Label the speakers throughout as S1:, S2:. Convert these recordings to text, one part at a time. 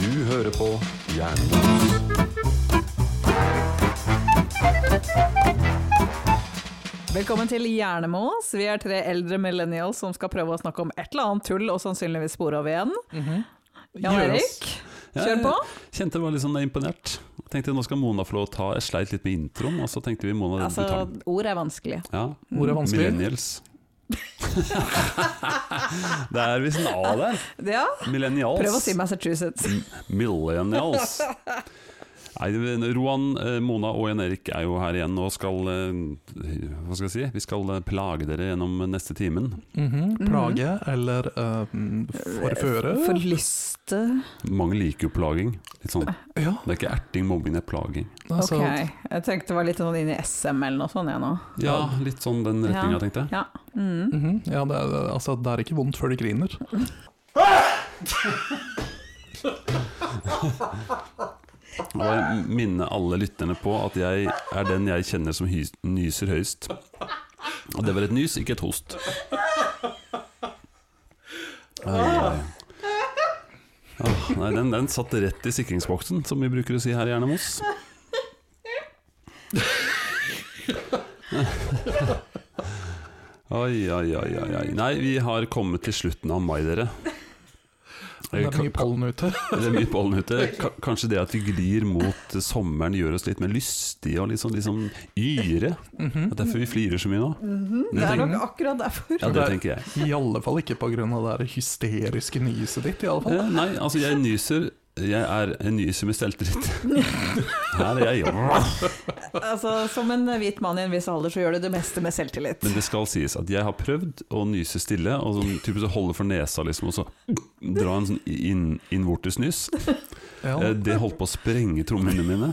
S1: Du hører på Jernbanen.
S2: Velkommen til Hjernemos. Vi er tre eldre millennials som skal prøve å snakke om et eller annet tull, og sannsynligvis spore over igjen. Jan
S1: Mhm. Gjør
S2: Erik,
S1: oss.
S2: kjør på.
S1: Kjente jeg var litt sånn imponert. Jeg tenkte nå skal Mona få lov å ta Jeg sleit litt med introen, og så tenkte vi Mona
S2: Altså,
S1: altså, tar den.
S2: ord er vanskelig.
S1: Ja.
S3: Ord er vanskelig.
S1: Millennials. det er visst en A der.
S2: Ja,
S1: Millennials.
S2: prøv å si Massachusetts.
S1: Millennials. Nei, det- Roan, eh, Mona og Jan Erik er jo her igjen og skal eh, Hva skal jeg si? Vi skal eh, plage dere gjennom neste timen.
S3: Mhm.
S2: Mm-hmm.
S3: Plage eller eh, forføre.
S2: Forlyste.
S1: Mange liker jo plaging. Litt sånn.
S3: Ja,
S1: Det er ikke erting, mobbing, det er plaging.
S3: altså,
S2: Ok, jeg tenkte det var litt sånn inn i SM eller noe sånt jeg nå.
S1: Ja, litt sånn den retninga, tenkte jeg.
S2: Ja. Mm.
S3: mhm. ja det, er, altså, det er ikke vondt før det griner.
S1: Og jeg minner alle lytterne på at jeg er den jeg kjenner som hy- nyser høyest. Og det var et nys, ikke et host. Ai, ai. Ja, nei, den, den satt rett i sikringsboksen, som vi bruker å si her i Ernemos. Oi, oi, oi, oi, oi. Nei, vi har kommet til slutten av mai, dere.
S3: Det er
S1: Ka-
S3: mye pollen ute.
S1: Det er mye pollen ute. Ka- Kanskje det at vi glir mot eh, sommeren gjør oss litt mer lystige og litt sånn liksom yre. Det er derfor vi flirer så mye nå.
S2: Det er
S1: tenker-
S2: nok akkurat derfor.
S1: Ja, det tenker jeg.
S3: I alle fall ikke pga. det der hysteriske nyset ditt, i alle fall.
S1: Eh, Nei, altså jeg nyser. Jeg er en nyser med selvtillit. Her er jeg.
S2: Altså, som en hvit mann i en viss alder, så gjør du det meste med selvtillit.
S1: Men det skal sies at jeg har prøvd å nyse stille, og sånn, typisk å holde for nesa liksom, og så dra en sånn inn, innvortes nys. Eh,
S3: Ja.
S1: Det holdt på å sprenge trommehinnene mine.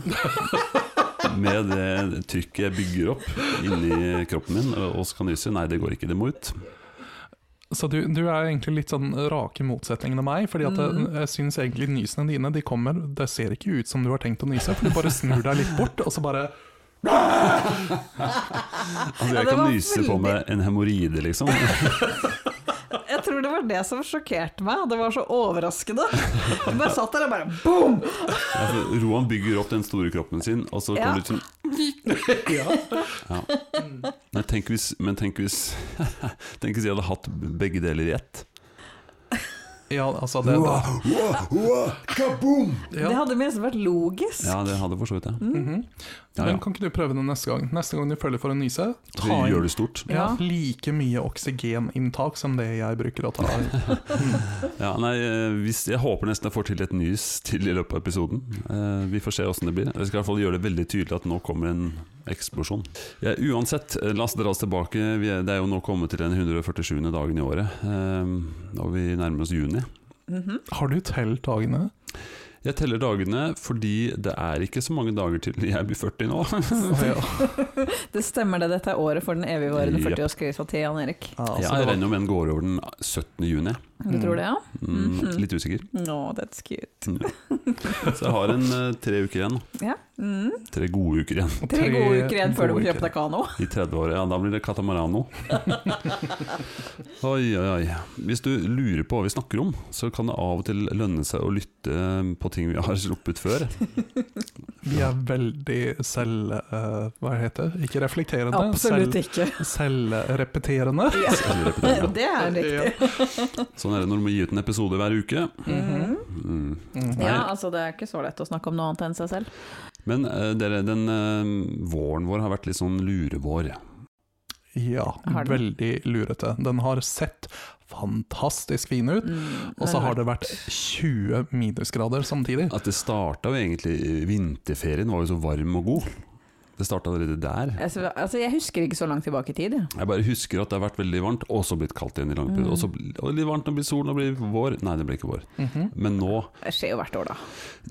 S1: Med det trykket jeg bygger opp inni kroppen min og skal nyse. Nei, det går ikke, det må ut.
S3: Så du, du er egentlig litt sånn rake motsetningen av meg. Fordi at
S2: Mm.
S3: jeg, jeg syns egentlig nysene dine de kommer Det ser ikke ut som du har tenkt å nyse, for du bare snur deg litt bort, og så bare
S1: Altså,
S2: Ja,
S1: jeg
S2: det
S1: kan
S2: var
S1: nyse på meg en hemoroide, liksom.
S2: Jeg tror det var det som sjokkerte meg. Det var så overraskende. Jeg bare satt der og bare boom!
S1: Altså, Roan bygger opp den store kroppen sin, og så
S2: Ja.
S1: kommer det ut sånn ja. Nei, tenk hvis, Men tenk hvis Tenk hvis jeg hadde hatt begge deler i ett.
S3: Ja, altså det,
S2: Det
S3: ja.
S2: hadde minst vært logisk.
S1: Ja, det hadde for så vidt jeg.
S3: Mhm.
S1: Ja, ja.
S3: Men kan ikke du prøve det neste gang? Neste gang du føler for å nyse,
S1: Så
S3: ta
S1: gjør
S3: inn
S1: det stort.
S3: ja, like mye oksygeninntak som det jeg bruker å ta.
S1: Ja, nei, eh, hvis, jeg håper nesten jeg får til et nys til i løpet av episoden. Eh, vi får se åssen det blir. Jeg skal i hvert fall gjøre det veldig tydelig at nå kommer en eksplosjon. Ja, uansett, eh, la oss dra oss tilbake. Vi er, det er jo nå kommet til den 147. dagen i året, eh, og vi nærmer oss juni.
S2: Mhm.
S3: Har du telt dagene?
S1: Jeg teller dagene fordi det er ikke så mange dager til jeg blir 40 nå. Altså,
S3: Å, ja. altså,
S2: Det stemmer det, dette er året for den evigvarende
S1: Jepp.
S2: 40-årskrisa til Jan Erik.
S3: Ja, altså,
S1: jeg
S3: det var-
S1: regner med en går over den 17. juni.
S2: Du tror det, ja?
S1: Mm,
S2: Mhm.
S1: Litt usikker.
S2: No, that's cute.
S1: Så jeg har en eh, tre uker igjen.
S2: Ja. Mm.
S1: Tre gode uker igjen
S2: Tre gode uker igjen før du
S3: gode
S2: må kjøpe
S3: uker.
S2: deg kano.
S1: i 30-året. Ja, da blir det Catamarano. Oi, oi, oi. Hvis du lurer på hva vi snakker om, så kan det av og til lønne seg å lytte eh, på ting vi har sluppet før.
S3: Vi er veldig selv... eh, hva heter det? Ikke reflekterende.
S2: Absolutt
S3: selv,
S2: ikke.
S3: Selvrepeterende.
S1: Selvrepeterende.
S2: Det er riktig.
S1: Sånn er det når du må gi ut en episode hver uke.
S2: Mhm.
S1: Mm.
S3: Mhm.
S1: Nei.
S2: Ja, altså det er ikke så lett å snakke om noe annet enn seg selv.
S1: Men eh, dere, den eh, våren vår har vært litt sånn lurevår.
S3: Ja,
S2: Har den.
S3: veldig lurete. Den har sett fantastisk fin ut,
S2: Mm,
S3: og så
S2: men-
S3: har det vært 20 minusgrader samtidig.
S1: At det starta jo egentlig eh, Vinterferien var jo så varm og god. Det starta allerede der.
S2: Altså, altså, jeg husker ikke så langt tilbake i tid, jeg.
S1: Jeg bare husker at det har vært veldig varmt, og så blitt kaldt igjen i lange perioder.
S2: Mm.
S1: Og så bl- og litt varmt, nå blir solen, nå blir vår. Nei, det blir ikke vår.
S3: Mhm.
S1: Men nå
S2: Det skjer jo hvert år, da.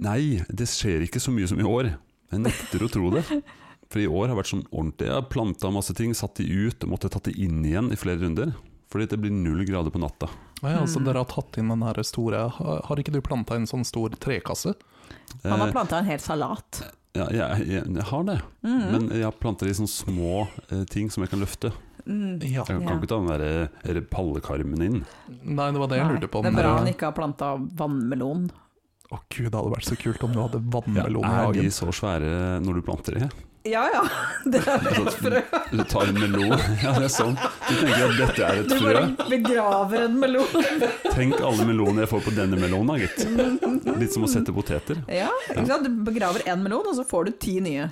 S1: Nei, det skjer ikke så mye som i år. Jeg nekter å tro det. For i år har vært sånn ordentlig. Jeg har planta masse ting, satt de ut og måtte tatt de inn igjen i flere runder. Fordi det blir null grader på natta.
S3: Å ja, så
S2: Mm.
S3: dere har tatt inn den her store Har har ikke du planta en sånn stor trekasse?
S2: Han har
S1: Eh,
S2: planta en hel salat.
S1: ja, jeg, jeg, jeg har det.
S2: Mhm.
S1: Men jeg har planta de sånne små eh, ting som jeg kan løfte.
S2: Mm.
S1: Jeg
S3: Ja.
S1: kan
S2: Ja.
S1: ikke ta den der eh, pallekarmen inn.
S3: Nei, det var det jeg lurte på.
S2: Nei, det
S3: om
S2: er bra
S3: dere-
S2: han ikke har planta vannmelon.
S3: Å gud, det hadde vært så kult om du hadde
S1: Ja,
S3: vannmelon i
S1: er de
S3: hagen.
S1: så svære når du planter de?
S2: Ja ja, det er
S3: sånn
S2: vel et frø.
S1: Du tar en melon Ja, det er sånn. Du tenker at dette er et
S2: Du
S1: frø.
S2: bare begraver en melon.
S1: Tenk alle melonene jeg får på denne melonen, da, gitt. Litt sånn. som å sette poteter.
S2: Ja, ikke sant? Du begraver én melon, og så får du ti nye.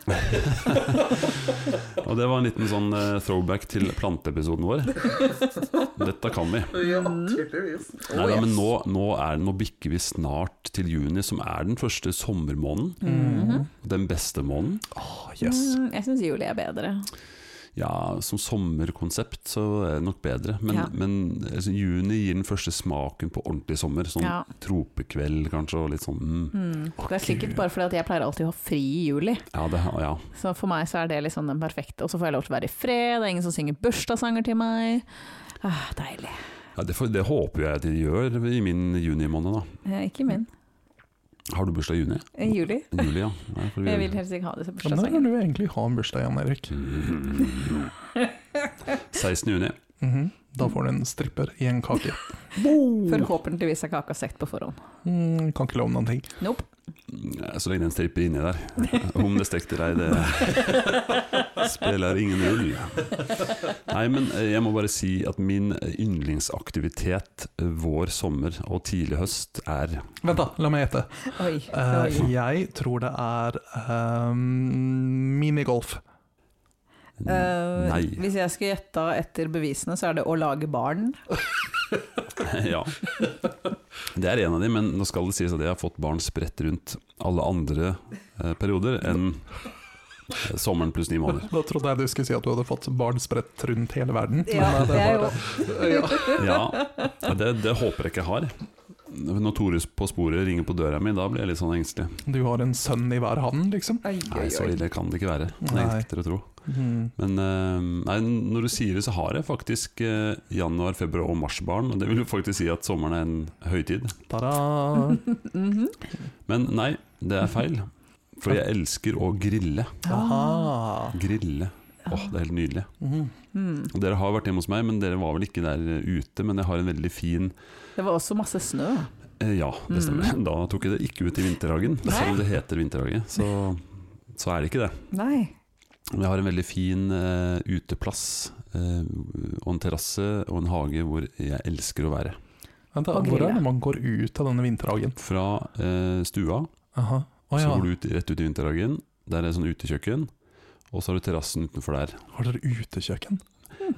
S1: Og det var en liten sånn eh, throwback til planteepisoden vår. Dette kan vi. Nei, da, men nå, nå, er, nå bikker vi snart til juni, som er den første sommermåneden.
S2: Mhm.
S1: Den beste måneden.
S3: Å, Ah, yes.
S2: Mm, jeg syns juli er bedre.
S1: Ja, som sommerkonsept så er det nok bedre. Men,
S2: Ja.
S1: men altså, juni gir den første smaken på ordentlig sommer. Sånn
S2: Ja.
S1: tropekveld kanskje, og litt sånn mm.
S2: Mm. Det er sikkert bare fordi at jeg pleier alltid å ha fri i juli,
S1: Ja, det, ja.
S2: så for meg så er det liksom den perfekte. Og så får jeg lov til å være i fred, det er ingen som synger bursdagssanger til meg. Ah, deilig.
S1: ja det, får- det håper jeg at de gjør i min junimåned, da.
S2: Eh, ikke min.
S1: Har du bursdag i juni?
S2: I juli.
S1: Juli, ja. Nei, for vi-
S2: Jeg vil helst ikke ha disse
S3: Ja, men Når vil
S2: bursdagssangene.
S3: du egentlig ha en bursdag, Jan Erik?
S1: 16. juni.
S3: Mhm. Da får du en stripper i en kake.
S2: Forhåpentligvis er kaka stekt på forhånd.
S3: Mm, kan ikke love noen ting.
S2: Nope.
S1: Ja, Så lenge den stripper inni der. Om det stekte deg, det spiller ingen roll. Nei, men eh, jeg må bare si at min yndlingsaktivitet eh, vår sommer og tidlig høst er
S3: Vent, da, la meg gjette.
S2: Oi.
S3: Eh,
S2: oi.
S3: jeg tror det er eh, minigolf.
S2: Eh,
S1: Nei.
S2: Hvis jeg skulle gjette etter bevisene, så er det å lage barn.
S1: Ja. Det er en av de, men nå skal det sies at jeg har fått barn spredt rundt alle andre eh, perioder enn eh, sommeren pluss ni måneder.
S3: Da trodde jeg du skulle si at du hadde fått barn spredt rundt hele verden.
S2: Ja,
S3: Men, eh,
S2: det er jo
S3: var det. Ja.
S1: Ja, ja, det, det håper jeg ikke jeg har. Når Tore på sporet ringer på døra mi, da blir jeg litt sånn engstelig.
S3: Du har en sønn i hver hand, liksom?
S2: Oi,
S1: Nei, så ille kan det ikke være. Det
S3: Nei.
S1: nekter å tro.
S2: Mm.
S3: Mhm.
S1: Men eh, nei, når du sier det, så har jeg faktisk eh, januar, februar og mars-barn. Og det vil jo faktisk si at sommeren er en høytid.
S3: Ta-da!
S2: Mhm.
S1: Men nei, det er feil. For jeg elsker å grille.
S3: Aha.
S1: Grille. Åh, det er helt nydelig.
S3: Mhm.
S2: Mm.
S1: Og dere har vært hjemme hos meg, men dere var vel ikke der eh, ute. Men jeg har en veldig fin
S2: Det var også masse snø.
S1: eh, Ja, det stemmer. Da tok jeg det ikke ut i vinterhagen, selv om
S2: Nei.
S1: det heter vinterhage. Så, så er det ikke det.
S2: Nei.
S1: Men Jeg har en veldig fin eh, uteplass eh, og en terrasse og en hage hvor jeg elsker å være.
S3: Vent, da,
S2: Og
S3: hvor
S2: grille.
S3: er det man går ut av denne vinterhagen?
S1: Fra eh, stua,
S3: Aha. Å
S1: så
S3: ja.
S1: går du ut, rett ut i vinterhagen. Der er det sånn utekjøkken. Og så har du terrassen utenfor der.
S3: Har dere utekjøkken?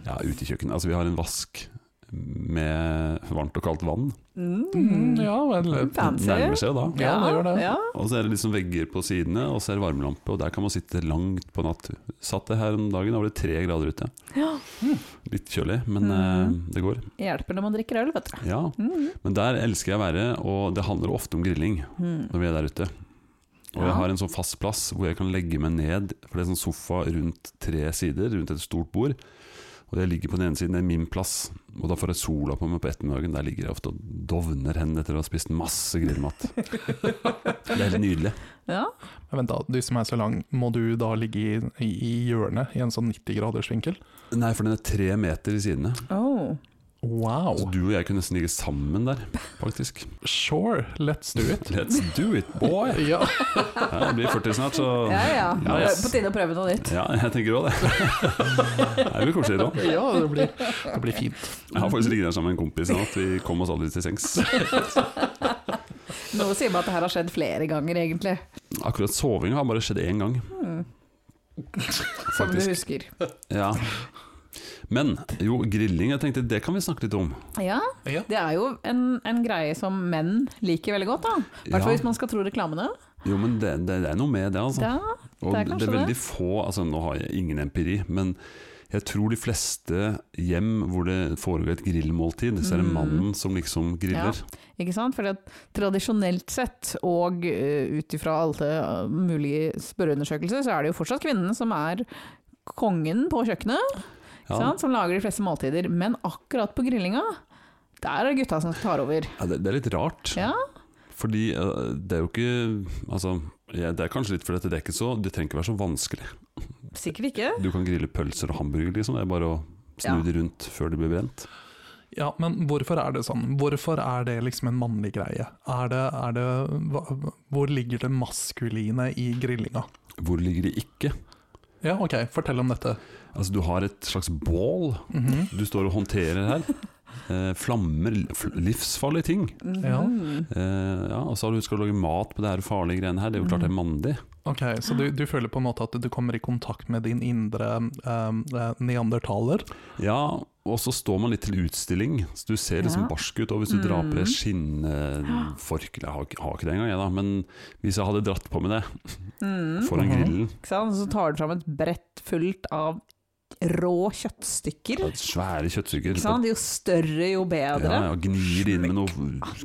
S1: Ja, utekjøkken. Altså, vi har en vask med varmt og kaldt vann.
S2: Mm.
S3: ja vel.
S2: Fancy.
S1: Nærmer seg jo da.
S3: Ja, det gjør det.
S2: Ja.
S1: Og så er det liksom vegger på sidene, og så er det varmelampe. Og der kan man sitte langt på natt. Satt det her om dagen, da var det tre grader ute.
S2: Ja.
S1: Litt kjølig, men
S2: Mhm.
S1: eh, det går.
S2: Hjelper når man drikker øl, vet du.
S1: Ja.
S2: Mm.
S1: Men der elsker jeg å være, og det handler ofte om grilling.
S2: Mm.
S1: når vi er der ute. Og
S2: Ja.
S1: jeg har en sånn fast plass hvor jeg kan legge meg ned, for det er sånn sofa rundt tre sider, rundt et stort bord. Og jeg ligger på den ene siden, det er min plass, og da får jeg sola på meg på ettermiddagen. Der ligger jeg ofte og dovner hen etter å ha spist masse grillmat. Det er helt nydelig.
S2: Ja.
S3: Men Vent da, du som er så lang, må du da ligge i, i, i hjørnet i en sånn 90-gradersvinkel?
S1: Nei, for den er tre meter i sidene.
S2: Oh.
S3: Wow!
S1: Så du og jeg kunne nesten ligge sammen der, faktisk.
S3: Sure, let's do it.
S1: Let's do it, boy!
S3: Ja.
S1: Ja, jeg blir 40 snart, så
S2: Ja, ja.
S1: Ja,
S2: Det er
S1: yes.
S2: På tide å prøve noe nytt.
S1: Ja, jeg tenker òg det. Det blir koselig da.
S3: ja, det blir, det blir fint.
S1: Jeg har faktisk ligget der sammen med en kompis sånn at vi kom oss aldri til sengs.
S2: Noe sier meg at det her har skjedd flere ganger, egentlig. Hmm.
S1: Akkurat soving har bare skjedd én gang.
S2: Som du
S1: Faktisk.
S2: husker.
S1: Ja. Men jo, grilling, jeg tenkte det kan vi snakke litt om.
S2: Ja,
S3: Ja.
S2: det er jo en, en greie som menn liker veldig godt, da. I hvert
S1: Ja.
S2: fall hvis man skal tro reklamene.
S1: Jo, men det, det, det er noe med det, altså.
S2: Da,
S1: Og
S2: det er
S1: det
S2: kanskje
S1: er veldig
S2: det.
S1: få altså Nå har jeg ingen empiri, men jeg tror de fleste hjem hvor det foregår et grillmåltid, så er det
S2: Mm.
S1: mannen som liksom griller.
S2: ikke sant? Fordi at tradisjonelt sett, og eh, ut ifra alle eh, mulige spørreundersøkelser, så er det jo fortsatt kvinnen som er kongen på kjøkkenet.
S1: Ja,
S2: ikke sant? som lager de fleste måltider. Men akkurat på grillinga, der er det gutta som tar over.
S1: Ja, det, det er litt rart.
S2: Ja.
S1: Fordi eh, det er jo ikke Altså, ja, det er kanskje litt fordi at det er ikke så Det trenger ikke være så vanskelig.
S2: Sikkert ikke.
S1: Du kan grille pølser og hamburger, liksom. Det er bare å Snu de rundt før de blir brent.
S3: Ja, men hvorfor er det sånn? Hvorfor er det liksom en mannlig greie? Er det, er det, hva, hvor ligger det maskuline i grillinga?
S1: Hvor ligger de ikke?
S3: Ja, ok, fortell om dette.
S1: Altså, du har et slags bål
S3: Mhm.
S1: du står og håndterer her. Eh, flammer, fl- livsfarlige ting.
S3: Ja.
S2: Mhm.
S1: Eh, ja, og så har du skal lage mat på det her farlige greiene her. Det er jo klart det er mandig.
S3: Ok, Så du, du føler på en måte at du kommer i kontakt med din indre um, eh, neandertaler?
S1: Ja, og så står man litt til utstilling, så du ser liksom
S2: Ja. Mm.
S1: barsk ut. Og hvis du drar på det skinnforkleet Jeg har, ikke- har ikke det engang, jeg, da. Men hvis jeg hadde dratt på med det
S2: Mhm.
S1: foran
S3: Mhm.
S1: grillen
S2: Ikke sant? Så tar du fram et brett fullt av rå kjøttstykker.
S1: ja, Svære kjøttstykker.
S2: Ikke sant? Jo større, jo
S1: Ja,
S2: bedre.
S1: ja, gnir det inn med noe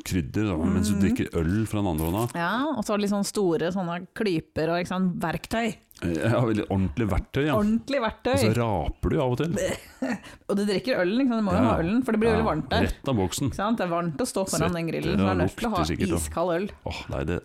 S1: krydder da, mens du
S2: Mhm.
S1: drikker øl fra den andre hånda.
S2: Ja, og så litt sånn store sånne klyper og ikke sant? verktøy.
S1: Ja, veldig ordentlig verktøy, ja. Altså,
S2: Ordentlig
S1: Og så
S2: verktøy.
S1: raper du av og til.
S2: Og du drikker ølen, ikke sant? du må jo
S1: Ja.
S2: ha ølen, for det blir veldig varmt der.
S1: Rett av boksen.
S2: Ikke sant? Det er varmt å stå foran den grillen, så
S1: Svetter
S2: man
S1: og
S2: er nødt til å ha
S1: lukter sikkert, da.
S2: iskald øl. Mhm.
S1: Åh, nei, det,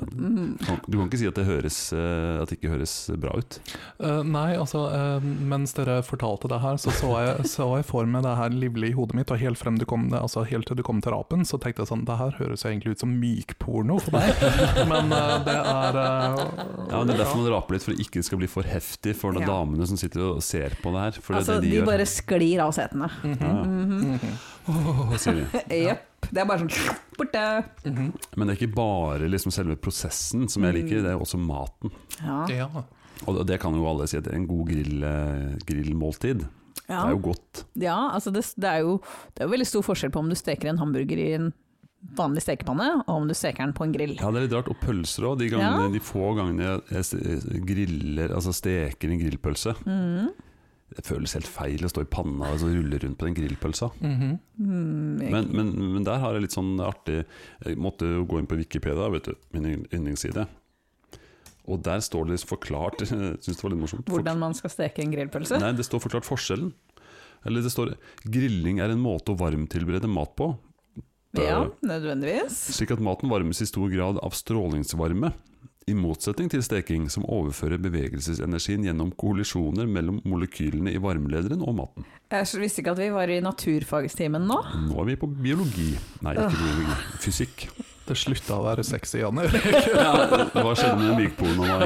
S1: du kan ikke si at det, høres, eh, at det ikke høres bra ut.
S3: Eh, nei, altså, eh, mens dere fortalte det her, så så jeg, så jeg for meg det her livlig i hodet mitt, og helt, frem du kom, altså, helt til du kom til rapen, så tenkte jeg sånn, det her høres jo egentlig ut som mykporno for meg, men eh, det er eh,
S1: Ja, men Det er derfor man raper litt, for at det ikke skal bli for heftig for de
S2: Ja.
S1: damene som sitter og ser på det her. For det, er
S2: Altså,
S1: det de,
S2: de
S1: gjør.
S2: bare sklir av setene.
S3: Mhm.
S2: Mhm.
S1: Ja, ja. Åh, sier de.
S2: Jepp. Det er bare sånn borte.
S3: Mhm.
S1: Men det er ikke bare liksom selve prosessen som jeg liker, det er også maten.
S2: Ja.
S3: Ja.
S1: Og det kan jo alle si at det er en god grill, eh, grillmåltid.
S2: Ja.
S1: Det er jo godt.
S2: ja, altså det, det er jo det er jo veldig stor forskjell på om du steker en hamburger i en vanlig stekepanne, og om du steker den på en grill.
S1: Ja, det er litt rart. Og pølser òg. De, gangene- de få gangene jeg s- griller, altså steker en grillpølse
S2: Mhm.
S1: Det føles helt feil å stå i panna og så rulle rundt på den grillpølsa.
S3: Mhm.
S2: Mm, jeg-
S1: Men, men, men der har jeg litt sånn artig Jeg måtte jo gå inn på Wikipedia, vet du, min ynd- yndlingsside. Og der står det liksom forklart Jeg synes det var litt morsomt. For-
S2: hvordan man skal steke en grillpølse?
S1: Nei, det står forklart forskjellen. Eller det står 'grilling er en måte å varmtilberede mat på', det er-
S2: Ja, nødvendigvis.
S1: slik at maten varmes i stor grad av strålingsvarme. I motsetning til steking, som overfører bevegelsesenergien gjennom kollisjoner mellom molekylene i varmelederen og maten.
S2: Jeg visste ikke at vi var i naturfagstimen nå.
S1: Nå er vi på biologi. Nei, ikke biologi. Fysikk.
S3: Det slutta å være sexy, Janne.
S1: Ja, hva skjedde med mykpornoen da,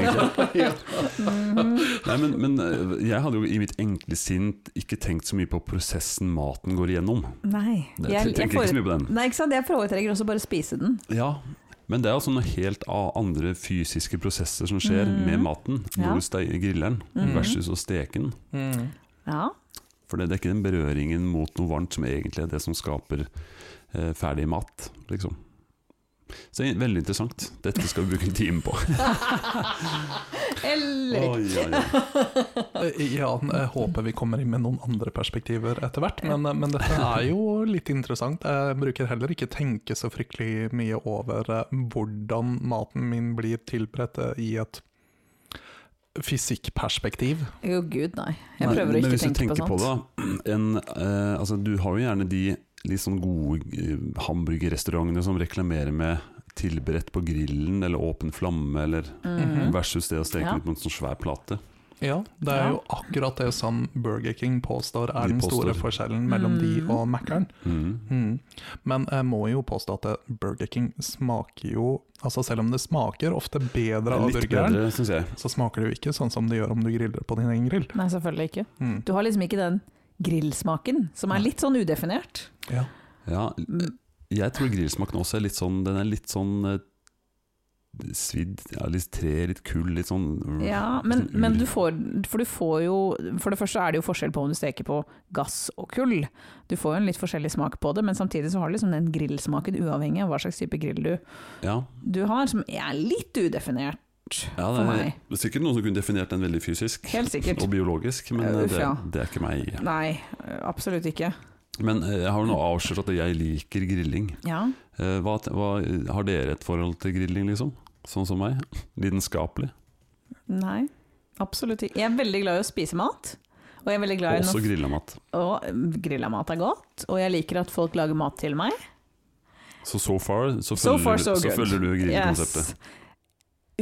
S1: egentlig? Nei, men, men eh, jeg hadde jo i mitt enkle sinn ikke tenkt så mye på prosessen maten går igjennom.
S2: Nei.
S1: Jeg, tenker ikke så mye på den.
S2: Nei, ikke sant? Jeg foretrekker også bare å spise den.
S1: Ja, men det er altså noen helt a- andre fysiske prosesser som skjer
S2: Mhm.
S1: med maten
S2: Ja.
S1: når du ste- griller den
S2: Mhm.
S1: versus å steke den.
S3: Mm.
S2: Ja.
S1: For det, det er ikke den berøringen mot noe varmt som egentlig er det som skaper eh, ferdig mat, liksom. Så det er veldig interessant. Dette skal vi bruke en time på.
S2: Eller ikke.
S1: Oi, oi, oi.
S3: Eh, Ja, jeg håper vi kommer inn med noen andre perspektiver etter hvert, men, eh, men dette er jo litt interessant. Jeg bruker heller ikke tenke så fryktelig mye over eh, hvordan maten min blir tilberedt eh, i et fysikkperspektiv.
S2: Jo, gud, nei. Jeg
S1: Nei,
S2: prøver å
S1: men
S2: ikke
S1: hvis du
S2: tenke på
S1: tenker
S2: sånt.
S1: på det, da, en, eh, altså, du har jo gjerne de litt sånn gode eh, hamburgerrestaurantene som reklamerer med tilberedt på grillen eller åpen flamme, eller
S2: Mhm.
S1: versus det å steke
S2: Ja.
S1: ut på en sånn svær plate.
S3: Ja, det er
S2: Ja.
S3: jo akkurat det som Burger King påstår er
S1: De
S3: den store
S1: påstår.
S3: forskjellen mellom de
S2: Mm.
S3: og Mac-eren.
S1: Mm.
S3: Mm. Men jeg må jo påstå at eh, Burger King smaker jo Altså selv om det smaker ofte bedre av
S1: Litt
S3: burgeren,
S1: bedre, syns jeg.
S3: så smaker det jo ikke sånn som det gjør om du griller på din egen grill.
S2: Nei, selvfølgelig ikke.
S3: Mm.
S2: Du har liksom ikke den grillsmaken, som er litt sånn udefinert.
S3: Ja.
S1: Ja,
S2: Mm.
S1: jeg tror grillsmaken også er litt sånn Den er litt sånn eh, svidd, ja, litt tre, litt kull, litt sånn mm,
S2: Ja,
S1: litt
S2: men,
S1: sånn ur.
S2: men du får For du får jo For det første er det jo forskjell på om du steker på gass og kull. Du får jo en litt forskjellig smak på det, men samtidig så har du liksom den grillsmaken uavhengig av hva slags type grill du,
S1: ja,
S2: du har, som er litt udefinert.
S1: ja,
S2: for
S1: det, er,
S2: meg.
S1: det er sikkert noen som kunne definert den veldig fysisk
S2: Helt sikkert.
S1: og biologisk, men
S2: Ja,
S1: eh,
S2: uff,
S1: det,
S2: ja.
S1: det er ikke meg.
S2: Nei, absolutt ikke.
S1: Men eh, jeg har jo nå avslørt at jeg liker grilling.
S2: Ja.
S1: Eh, Hva, hva, har dere et forhold til grilling, liksom? Sånn som meg? Lidenskapelig?
S2: Nei. Absolutt ikke. Jeg er veldig glad i å spise mat. Og jeg er veldig glad i
S1: Også grilla mat.
S2: Og grilla mat er godt, og jeg liker at folk lager mat til meg.
S1: Så so far så
S2: So
S1: følger,
S2: far,
S1: du-
S2: so
S1: så
S2: good.
S1: følger du grillkonseptet.
S2: Yes.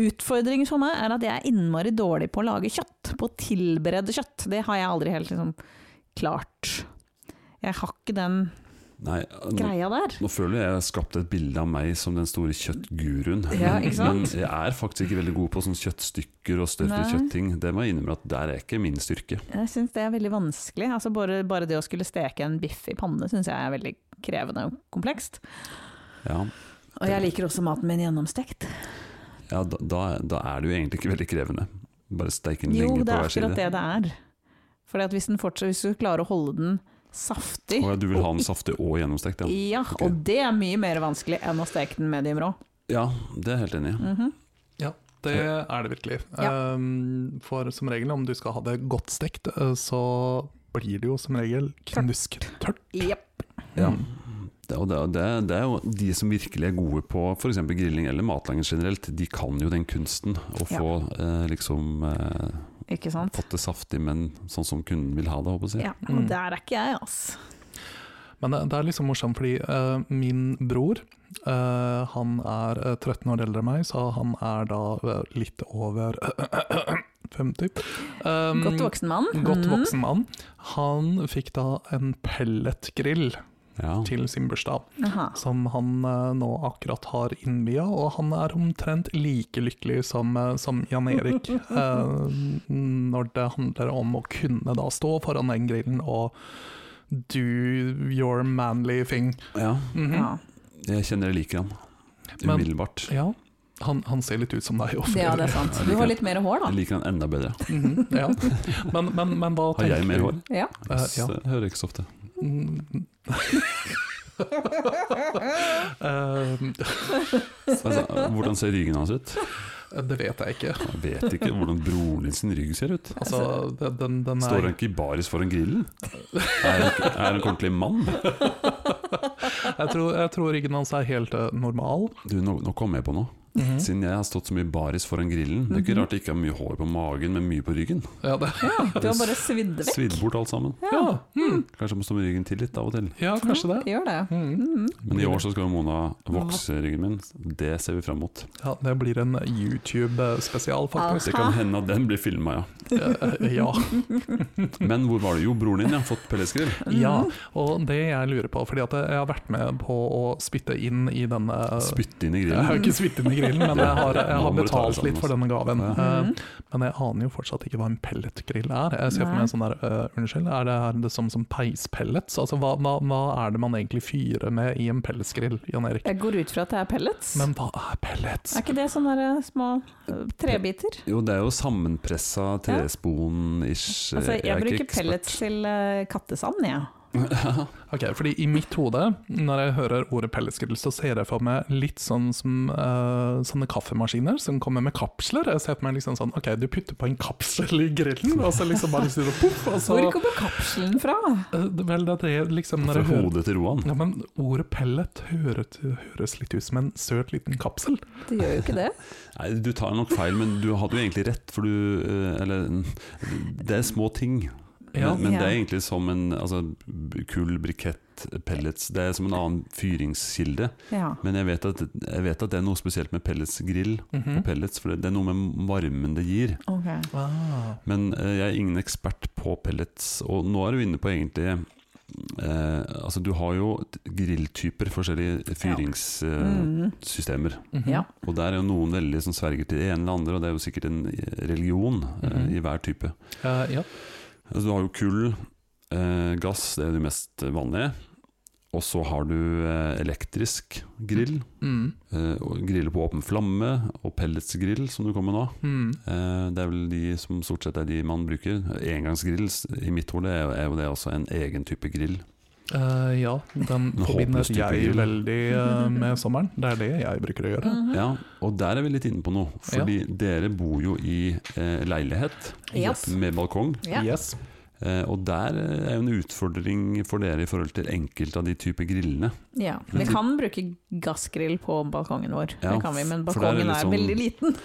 S2: Utfordringen for meg er at jeg er innmari dårlig på å lage kjøtt, på å tilberede kjøtt. Det har jeg aldri helt liksom klart. Jeg har ikke den
S1: Nei, eh, nå,
S2: greia der.
S1: nå føler jeg jeg har skapt et bilde av meg som den store kjøttguruen.
S2: Ja,
S1: Men-
S2: ikke sant?
S1: Men jeg er faktisk ikke veldig god på sånne kjøttstykker og større
S2: Nei.
S1: kjøttting. Det må jeg innrømme at der er ikke min styrke.
S2: Jeg syns det er veldig vanskelig. Altså bare, bare det å skulle steke en biff i panne syns jeg er veldig krevende og komplekst.
S1: Ja,
S2: Og jeg liker også maten min gjennomstekt.
S1: ja da, da, da er det jo egentlig ikke veldig krevende. Bare steike den
S2: Jo,
S1: lenge
S2: det
S1: på
S2: er
S1: hver side.
S2: akkurat det det er. Fordi at hvis, den fortsatt, hvis du klarer å holde den saftig
S1: Å ja, du vil ha den saftig og gjennomstekt, ja.
S2: Ja,
S1: ok.
S2: og det er mye mer vanskelig enn å steke den medium rå.
S1: Ja, det er jeg helt enig i.
S2: Mhm.
S3: Det er det virkelig.
S2: Ja.
S3: Ehm, for som regel, om du skal ha det godt stekt, eh, så blir det jo som regel knusktørt.
S2: Jepp.
S1: Ja.
S3: Mm.
S1: Det, og det, det, det er jo de som virkelig er gode på f.eks. grilling eller matlaging generelt, de kan jo den kunsten å
S2: Ja.
S1: få eh, liksom eh,
S2: Ikke sant?
S1: fått det saftig, men sånn som kunden vil ha det, håper jeg. å si.
S2: Ja, og der er ikke jeg, altså.
S3: Men det, det er liksom morsomt, fordi eh, min bror eh, han er eh, 13 år eldre enn meg, så han er da eh, litt over 50. Um,
S2: Godt voksen mann.
S3: Godt
S2: Mhm.
S3: voksen mann. Han fikk da en pelletgrill
S1: Ja.
S3: til sin bursdag,
S2: Aha.
S3: som han eh, nå akkurat har innvia, og han er omtrent like lykkelig som, eh, som Jan Erik eh, når det handler om å kunne da stå foran den grillen og do your manly thing.
S1: ja,
S3: Mhm.
S2: Ja.
S1: jeg kjenner jeg liker han.
S3: Men-
S1: Umiddelbart.
S3: Ja, han, han ser litt ut som deg. og-
S2: ja, det er sant. Du har litt mer hår, da.
S1: Jeg liker han enda bedre.
S3: Mhm, ja. men, men, men hva
S1: Har jeg
S3: tenker
S1: mer
S3: du-
S1: hår?
S2: Ja.
S3: Eh,
S1: Yes,
S3: ja.
S1: Det hører jeg ikke så ofte.
S3: Mm. Eh,
S1: Altså, hvordan ser ryggen hans ut?
S3: det vet jeg ikke.
S1: Jeg vet ikke hvordan broren din sin rygg ser ut.
S3: Altså, det- den, den
S1: Står
S3: er,
S1: han ikke i baris foran grillen? Er han, er han en ordentlig mann?
S3: jeg, tror, jeg tror ryggen hans er helt eh, normal.
S1: Du, nå, nå kom jeg på noe.
S3: Mhm.
S1: Siden jeg har stått så mye baris foran grillen. Det er
S2: Mhm.
S1: ikke rart jeg ikke har mye hår på magen, men mye på ryggen.
S3: Ja, det,
S2: Du har bare svidd vekk.
S1: Svidd bort alt sammen.
S3: ja. Mm.
S1: Kanskje jeg må stå med ryggen til litt av og til.
S3: ja, kanskje det.
S2: Mhm. Gjør det.
S3: Mm.
S2: Mhm.
S1: Men i år så skal jo Mona vokse ryggen min. Det ser vi fram mot.
S3: Ja, det blir en YouTube-spesial, faktisk.
S1: Det kan hende at den blir filma, ja.
S3: Eh, ja.
S1: Men hvor var det? Jo, broren din har fått pelletsgrill.
S3: ja. Og det jeg lurer på, fordi at jeg har vært med på å spytte inn i denne
S1: Spytte inn i
S3: Jeg har
S1: grillen.
S3: ikke svitt inn i grillen, men jeg har, jeg
S1: Nå
S3: har
S1: må du ta det
S3: betalt
S1: sammen altså.
S3: litt for denne gaven.
S1: Ja.
S3: Eh,
S2: Mm. Mhm.
S3: men jeg aner jo fortsatt ikke hva en pelletgrill er. Jeg ser for meg en sånn der, eh, unnskyld, er det, er det som, som peispellets? Altså, hva, hva, hva er det man egentlig fyrer med i en pelletsgrill, Jan Erik?
S2: Jeg går ut fra at det er pellets.
S3: Men hva er pellets?
S2: er ikke det sånne der små eh, trebiter?
S1: Jo, det er jo sammenpressa trespon-ish.
S2: Altså, jeg,
S1: er ikke
S2: bruker
S1: ekspert.
S2: pellets til eh, kattesand, jeg.
S3: Ok, fordi i mitt hode, når jeg hører ordet pelletsgrill, så ser jeg for meg litt sånn som eh, sånne kaffemaskiner som kommer med kapsler. Jeg ser for meg liksom sånn, ok, du putter på en kapsel i grillen, og så liksom bare sier du poff, og så...
S2: Hvor kommer kapselen fra?
S3: Eh, Vel, det er det liksom når
S1: Fra
S3: jeg hører...
S1: hodet til Roan.
S3: Ja, men Ordet pellet hører til- høres litt ut som en søt liten kapsel.
S2: Det gjør jo ikke det.
S1: Nei, du tar nok feil, men du hadde jo egentlig rett, for du eh, Eller Det er små ting.
S3: Ja.
S1: Men, men det er
S2: Ja.
S1: egentlig som en altså, b- kull, brikett, pellets Det er som en annen fyringskilde.
S2: Ja.
S1: Men jeg vet at, jeg vet at det er noe spesielt med pelletsgrill.
S3: Mhm.
S1: og Pellets, for det er noe med varmen det gir.
S2: Ok.
S3: ah.
S1: Men eh, jeg er ingen ekspert på pellets, og nå er du inne på egentlig eh, Altså, du har jo t- grilltyper, forskjellige fyringssystemer.
S2: Mm.
S3: Mhm.
S2: Ja.
S1: Og der er jo noen veldig som sverger til det ene eller andre, og det er jo sikkert en religion eh,
S2: Mm-hmm.
S3: Mhm.
S1: i hver type.
S3: Eh, ja.
S1: Altså, du har jo kull, eh, gass, det er det mest vanlige. Og så har du eh, elektrisk grill,
S3: Mm.
S1: eh, og griller på åpen flamme, og pelletsgrill, som du kommer med nå.
S3: Mm.
S1: Eh, Det er vel de som stort sett er de man bruker. Engangsgrill s- i mitt hode er, jo- er jo det også en egen type grill.
S3: Eh, ja, den
S1: En håpløs
S3: forbinder
S1: type
S3: jeg
S1: grill.
S3: veldig eh, med sommeren. Det er det jeg bruker å gjøre.
S2: Mhm.
S1: Ja, Og der er vi litt inne på noe. Fordi dere bor jo i eh, leilighet
S2: Ja.
S1: med balkong.
S2: Ja.
S3: Yes.
S1: Eh, og der eh, er jo en utfordring for dere i forhold til enkelte av de typer grillene.
S2: ja. Vi kan bruke gassgrill på balkongen vår,
S1: Ja,
S2: det kan vi, men
S1: for der er det
S2: balkongen er
S1: liksom-
S2: veldig liten.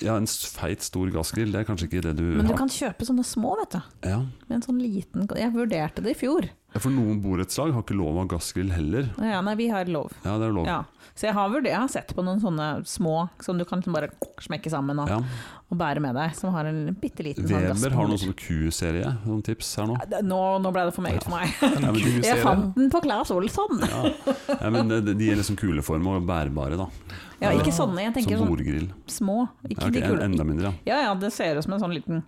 S1: Ja, En s- feit, stor gassgrill, det er kanskje ikke det du
S2: Men du
S1: har.
S2: kan kjøpe sånne små, vet du.
S1: Ja.
S2: Med en sånn liten Jeg vurderte det i fjor.
S1: Ja, For noen borettslag har ikke lov av gassgrill heller.
S2: Ja, nei, vi har lov.
S1: Ja, det er lov.
S2: Ja. Så jeg har, vurd- jeg har sett på noen sånne små som du kan liksom bare smekke sammen og,
S1: Ja.
S2: og bære med deg, som har en bitte liten sånn
S1: Weber har noen
S2: gassbeholder.
S1: sånn Q-serie, noen tips her nå.
S2: Ja, det- Nå, nå ble det for meget for meg.
S3: En
S1: Ja, men-
S3: Q-serie.
S2: Jeg fant den på Claes Olsson!
S1: Ja. Ja, men det- de er liksom kuleforma og bærbare, da.
S2: Ja, ikke sånne, jeg tenker
S1: Som
S2: sånn
S1: bordgrill.
S2: små. Ikke
S1: Ja, ok,
S2: de
S1: en-
S2: kule.
S1: enda mindre, ja.
S2: Ja ja, det ser ut som en sånn liten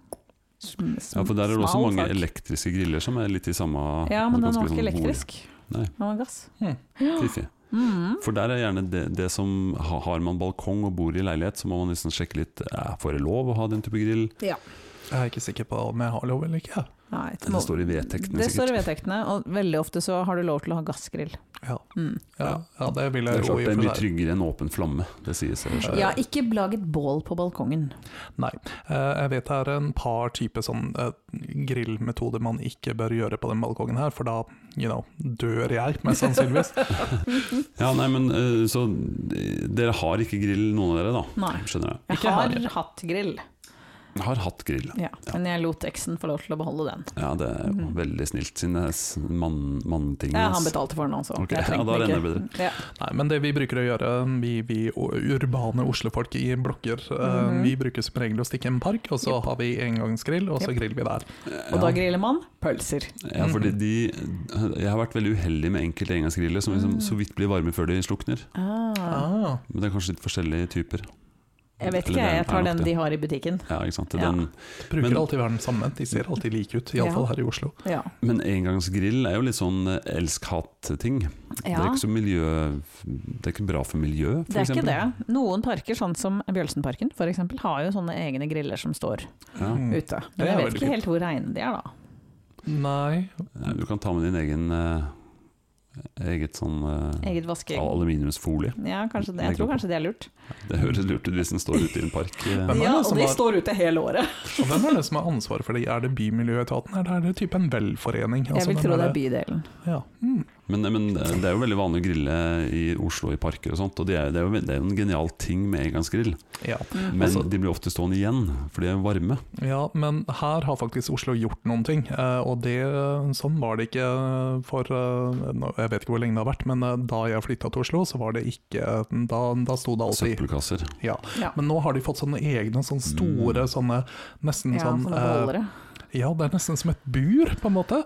S2: sm- sm-
S1: ja. For der er det også
S2: smal
S1: mange
S2: sak.
S1: elektriske griller som er litt i samme
S2: Ja, men den
S1: ganske
S2: var ikke
S1: sånn bord.
S2: elektrisk.
S1: Nei.
S2: Den var gass.
S3: Hmm.
S1: Fiffig.
S2: Mhm.
S1: For der er gjerne det, det som ha- Har man balkong og bor i leilighet, så må man liksom sjekke litt eh, Får jeg lov å ha den type grill?
S3: Jeg er ikke sikker på om jeg har lov eller ikke.
S2: Nei, det
S1: Det
S2: må-
S1: står i vedtektene,
S2: Det
S1: sikkert.
S2: står i vedtektene, og veldig ofte så har du lov til å ha gassgrill.
S3: Ja,
S2: Mm.
S3: ja, ja det vil
S1: Det
S3: jeg
S1: er,
S3: jo
S1: klart,
S3: i
S1: det er
S3: og
S1: mye
S3: for seg.
S1: tryggere enn åpen flamme. Det sier seg selv.
S2: Ja, ikke lag et bål på balkongen.
S3: Nei. Eh, Jeg vet det er en par typer sånn eh, grillmetoder man ikke bør gjøre på den balkongen her, for da you know, dør jeg, mest sannsynligvis.
S1: Ja, nei, men eh, Så eh, dere har ikke grill, noen av dere, da?
S2: Nei.
S1: Skjønner jeg.
S2: Jeg
S3: Ikke
S2: har
S3: her.
S2: hatt grill,
S1: Jeg Har hatt grill.
S2: ja. men jeg lot eksen få lov til å beholde den.
S1: Ja, det er jo
S2: Mhm.
S1: veldig snilt, siden det er s- mann- manntingen.
S2: Ja, han
S1: ass.
S2: betalte for den, altså.
S1: Ok,
S2: Jeg
S1: ja,
S2: trengte
S1: da
S2: den
S1: renner det
S2: Ja.
S3: Nei, men det vi bruker å gjøre, vi, vi urbane oslofolk i blokker, eh,
S2: Mhm.
S3: vi bruker som regel å stikke en park, og så
S2: Jep.
S3: har vi engangsgrill, og så
S2: Jep.
S3: griller vi der.
S2: Og da griller man pølser.
S1: Ja, fordi de Jeg har vært veldig uheldig med enkelte engangsgriller som liksom
S2: Mm.
S1: så vidt blir varme før de slukner.
S2: Ah.
S3: Ah.
S1: Men det er kanskje litt forskjellige typer.
S2: Jeg vet
S1: Eller
S2: ikke,
S1: det er-
S2: jeg
S1: er
S2: tar
S1: nok
S2: den
S1: det.
S2: de har i butikken.
S1: Ja, ikke sant? Det er
S2: Ja.
S1: Den,
S3: Bruker
S1: Men-
S3: alltid være den samme, de ser alltid like ut,
S2: Ja.
S3: iallfall her i Oslo.
S2: Ja.
S1: men engangsgrill er jo litt sånn eh, elsk-hatt-ting. Det
S2: ja.
S1: er ikke så miljø Det er ikke bra for miljø, for
S2: Det er ikke
S1: eksempel.
S2: det. Noen parker, sånn som Bjølsenparken f.eks., har jo sånne egne griller som står
S1: Ja.
S3: Mm.
S2: ute.
S3: Det
S2: Men
S3: er
S2: jeg vet
S3: veldig
S2: ikke
S3: fint.
S2: helt hvor reine de er, da.
S3: Nei,
S1: Nei, Du kan ta med din egen eh, eget sånn eh,
S2: Eget vaskeegg.
S1: aluminiumsfolie.
S2: Ja, kanskje det.
S1: Legger
S2: Jeg tror
S1: på.
S2: kanskje det er lurt.
S1: Det høres lurt ut hvis den står ute i en park. eh.
S3: Hvem er det
S2: Ja, og
S3: som
S2: de
S3: har-
S2: står ute hele året.
S3: og hvem er det som har ansvaret for det? Er det Bymiljøetaten, eller er det type en velforening? Altså,
S2: Jeg vil
S3: hvem
S2: tro det er bydelen.
S3: Ja. Mm.
S1: Men, men det er jo veldig vanlig å grille i Oslo i parker og sånt, og det er, det er, jo, det er jo en genial ting med engangsgrill.
S3: ja.
S1: Men
S2: Mm.
S3: Altså-
S1: de blir ofte stående igjen, for de er varme.
S3: Ja, men her har faktisk Oslo gjort noen ting, eh, og det, sånn var det ikke for eh, nå- Jeg vet ikke hvor lenge det har vært, men eh, da jeg flytta til Oslo, så var det ikke eh, Da, da sto det alltid
S1: Søppelkasser.
S3: ja.
S2: Ja.
S3: Men nå har de fått sånne egne, sånne store, sånne nesten
S2: Ja,
S3: sånn
S2: sånne
S3: eh,
S2: beholdere.
S3: Ja, det er nesten som et bur, på en måte.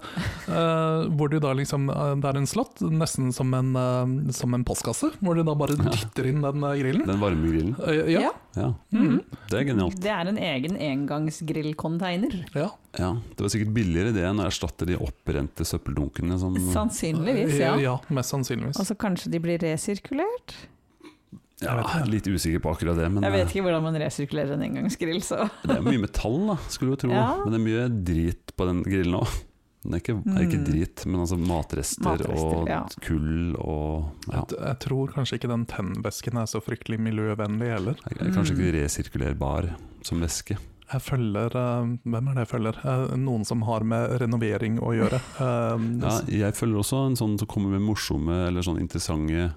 S3: Eh, hvor du da liksom eh, Det er en slott, nesten som en, eh, som en postkasse, hvor du da bare dytter inn den eh, grillen.
S1: Den varme grillen.
S3: Eh, ja.
S2: Ja.
S1: Ja,
S3: Mm,
S1: det er genialt.
S2: Det er en egen engangsgrillcontainer.
S3: ja.
S1: Ja, det var sikkert billigere det enn å erstatte de opprente søppeldunkene som
S2: Sånn. Sannsynligvis, ja.
S3: Mm.
S2: Altså-
S3: ja. Mest sannsynligvis.
S2: Og så kanskje de blir resirkulert?
S1: Ja, jeg er litt usikker på akkurat det, men
S2: Jeg vet
S1: eh,
S2: ikke hvordan man resirkulerer en engangsgrill, så
S1: det er mye metall, da, skulle du tro.
S2: Ja.
S1: Men det er mye drit på den grillen òg. Den er ikke, er ikke
S2: Mm.
S1: drit, men altså matrester,
S2: Matrester,
S1: og
S2: ja.
S1: kull og ja.
S3: Jeg, jeg tror kanskje ikke den tennvæsken er så fryktelig miljøvennlig heller.
S1: er Kanskje
S2: Mm.
S1: ikke resirkulerbar som væske.
S3: Jeg følger eh, Hvem er det jeg følger? Eh, noen som har med renovering å gjøre. Eh,
S1: Ja,
S3: s-
S1: jeg følger også en sånn som kommer med morsomme eller sånn interessante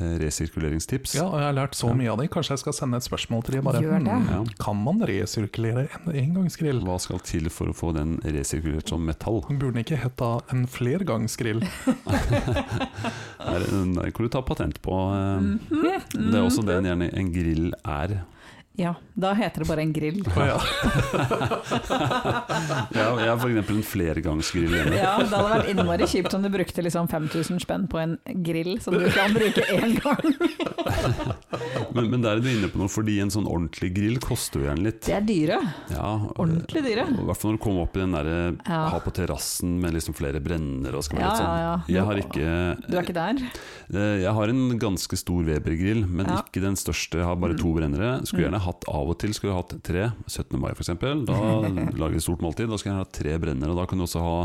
S1: eh, resirkuleringstips.
S3: ja, og jeg har lært så mye av det. Kanskje jeg skal sende et spørsmål til dem. Bare,
S2: Gjør det.
S3: hmm,
S1: Ja.
S3: Kan man resirkulere en engangsgrill?
S1: Hva skal til for å få den resirkulert som metall?
S3: Burde den ikke heta en flergangsgrill?
S1: Der, der kan du ta patent på. eh,
S3: Mm.
S2: Mhm.
S1: Det er også det en, gjerne, en grill er.
S2: Ja, da heter det bare en grill.
S3: Å ja.
S1: Jeg har, jeg har for eksempel en flergangsgrill hjemme.
S2: Ja, det hadde vært innmari kjipt om du brukte liksom 5000 spenn på en grill som du kan bruke én gang.
S1: Men, men der er du inne på noe, fordi en sånn ordentlig grill koster jo gjerne litt.
S2: De er dyre.
S1: Ja, eh,
S2: Ordentlig dyre.
S1: I hvert fall når du kommer opp i den derre
S2: Ja.
S1: ha på terrassen med liksom flere brenner og skal være
S2: Ja,
S1: litt sånn.
S2: ja, ja.
S1: Jeg har ikke
S2: Du er ikke der?
S1: Eh, Jeg har en ganske stor Weber-grill, men
S2: Ja. Mm.
S1: ikke den største. Jeg har bare to brennere. Skulle gjerne hatt av og til skulle jeg hatt tre. 17. mai, f.eks. Da lager jeg stort måltid. Da skal jeg ha tre brennere. og Da kan du også ha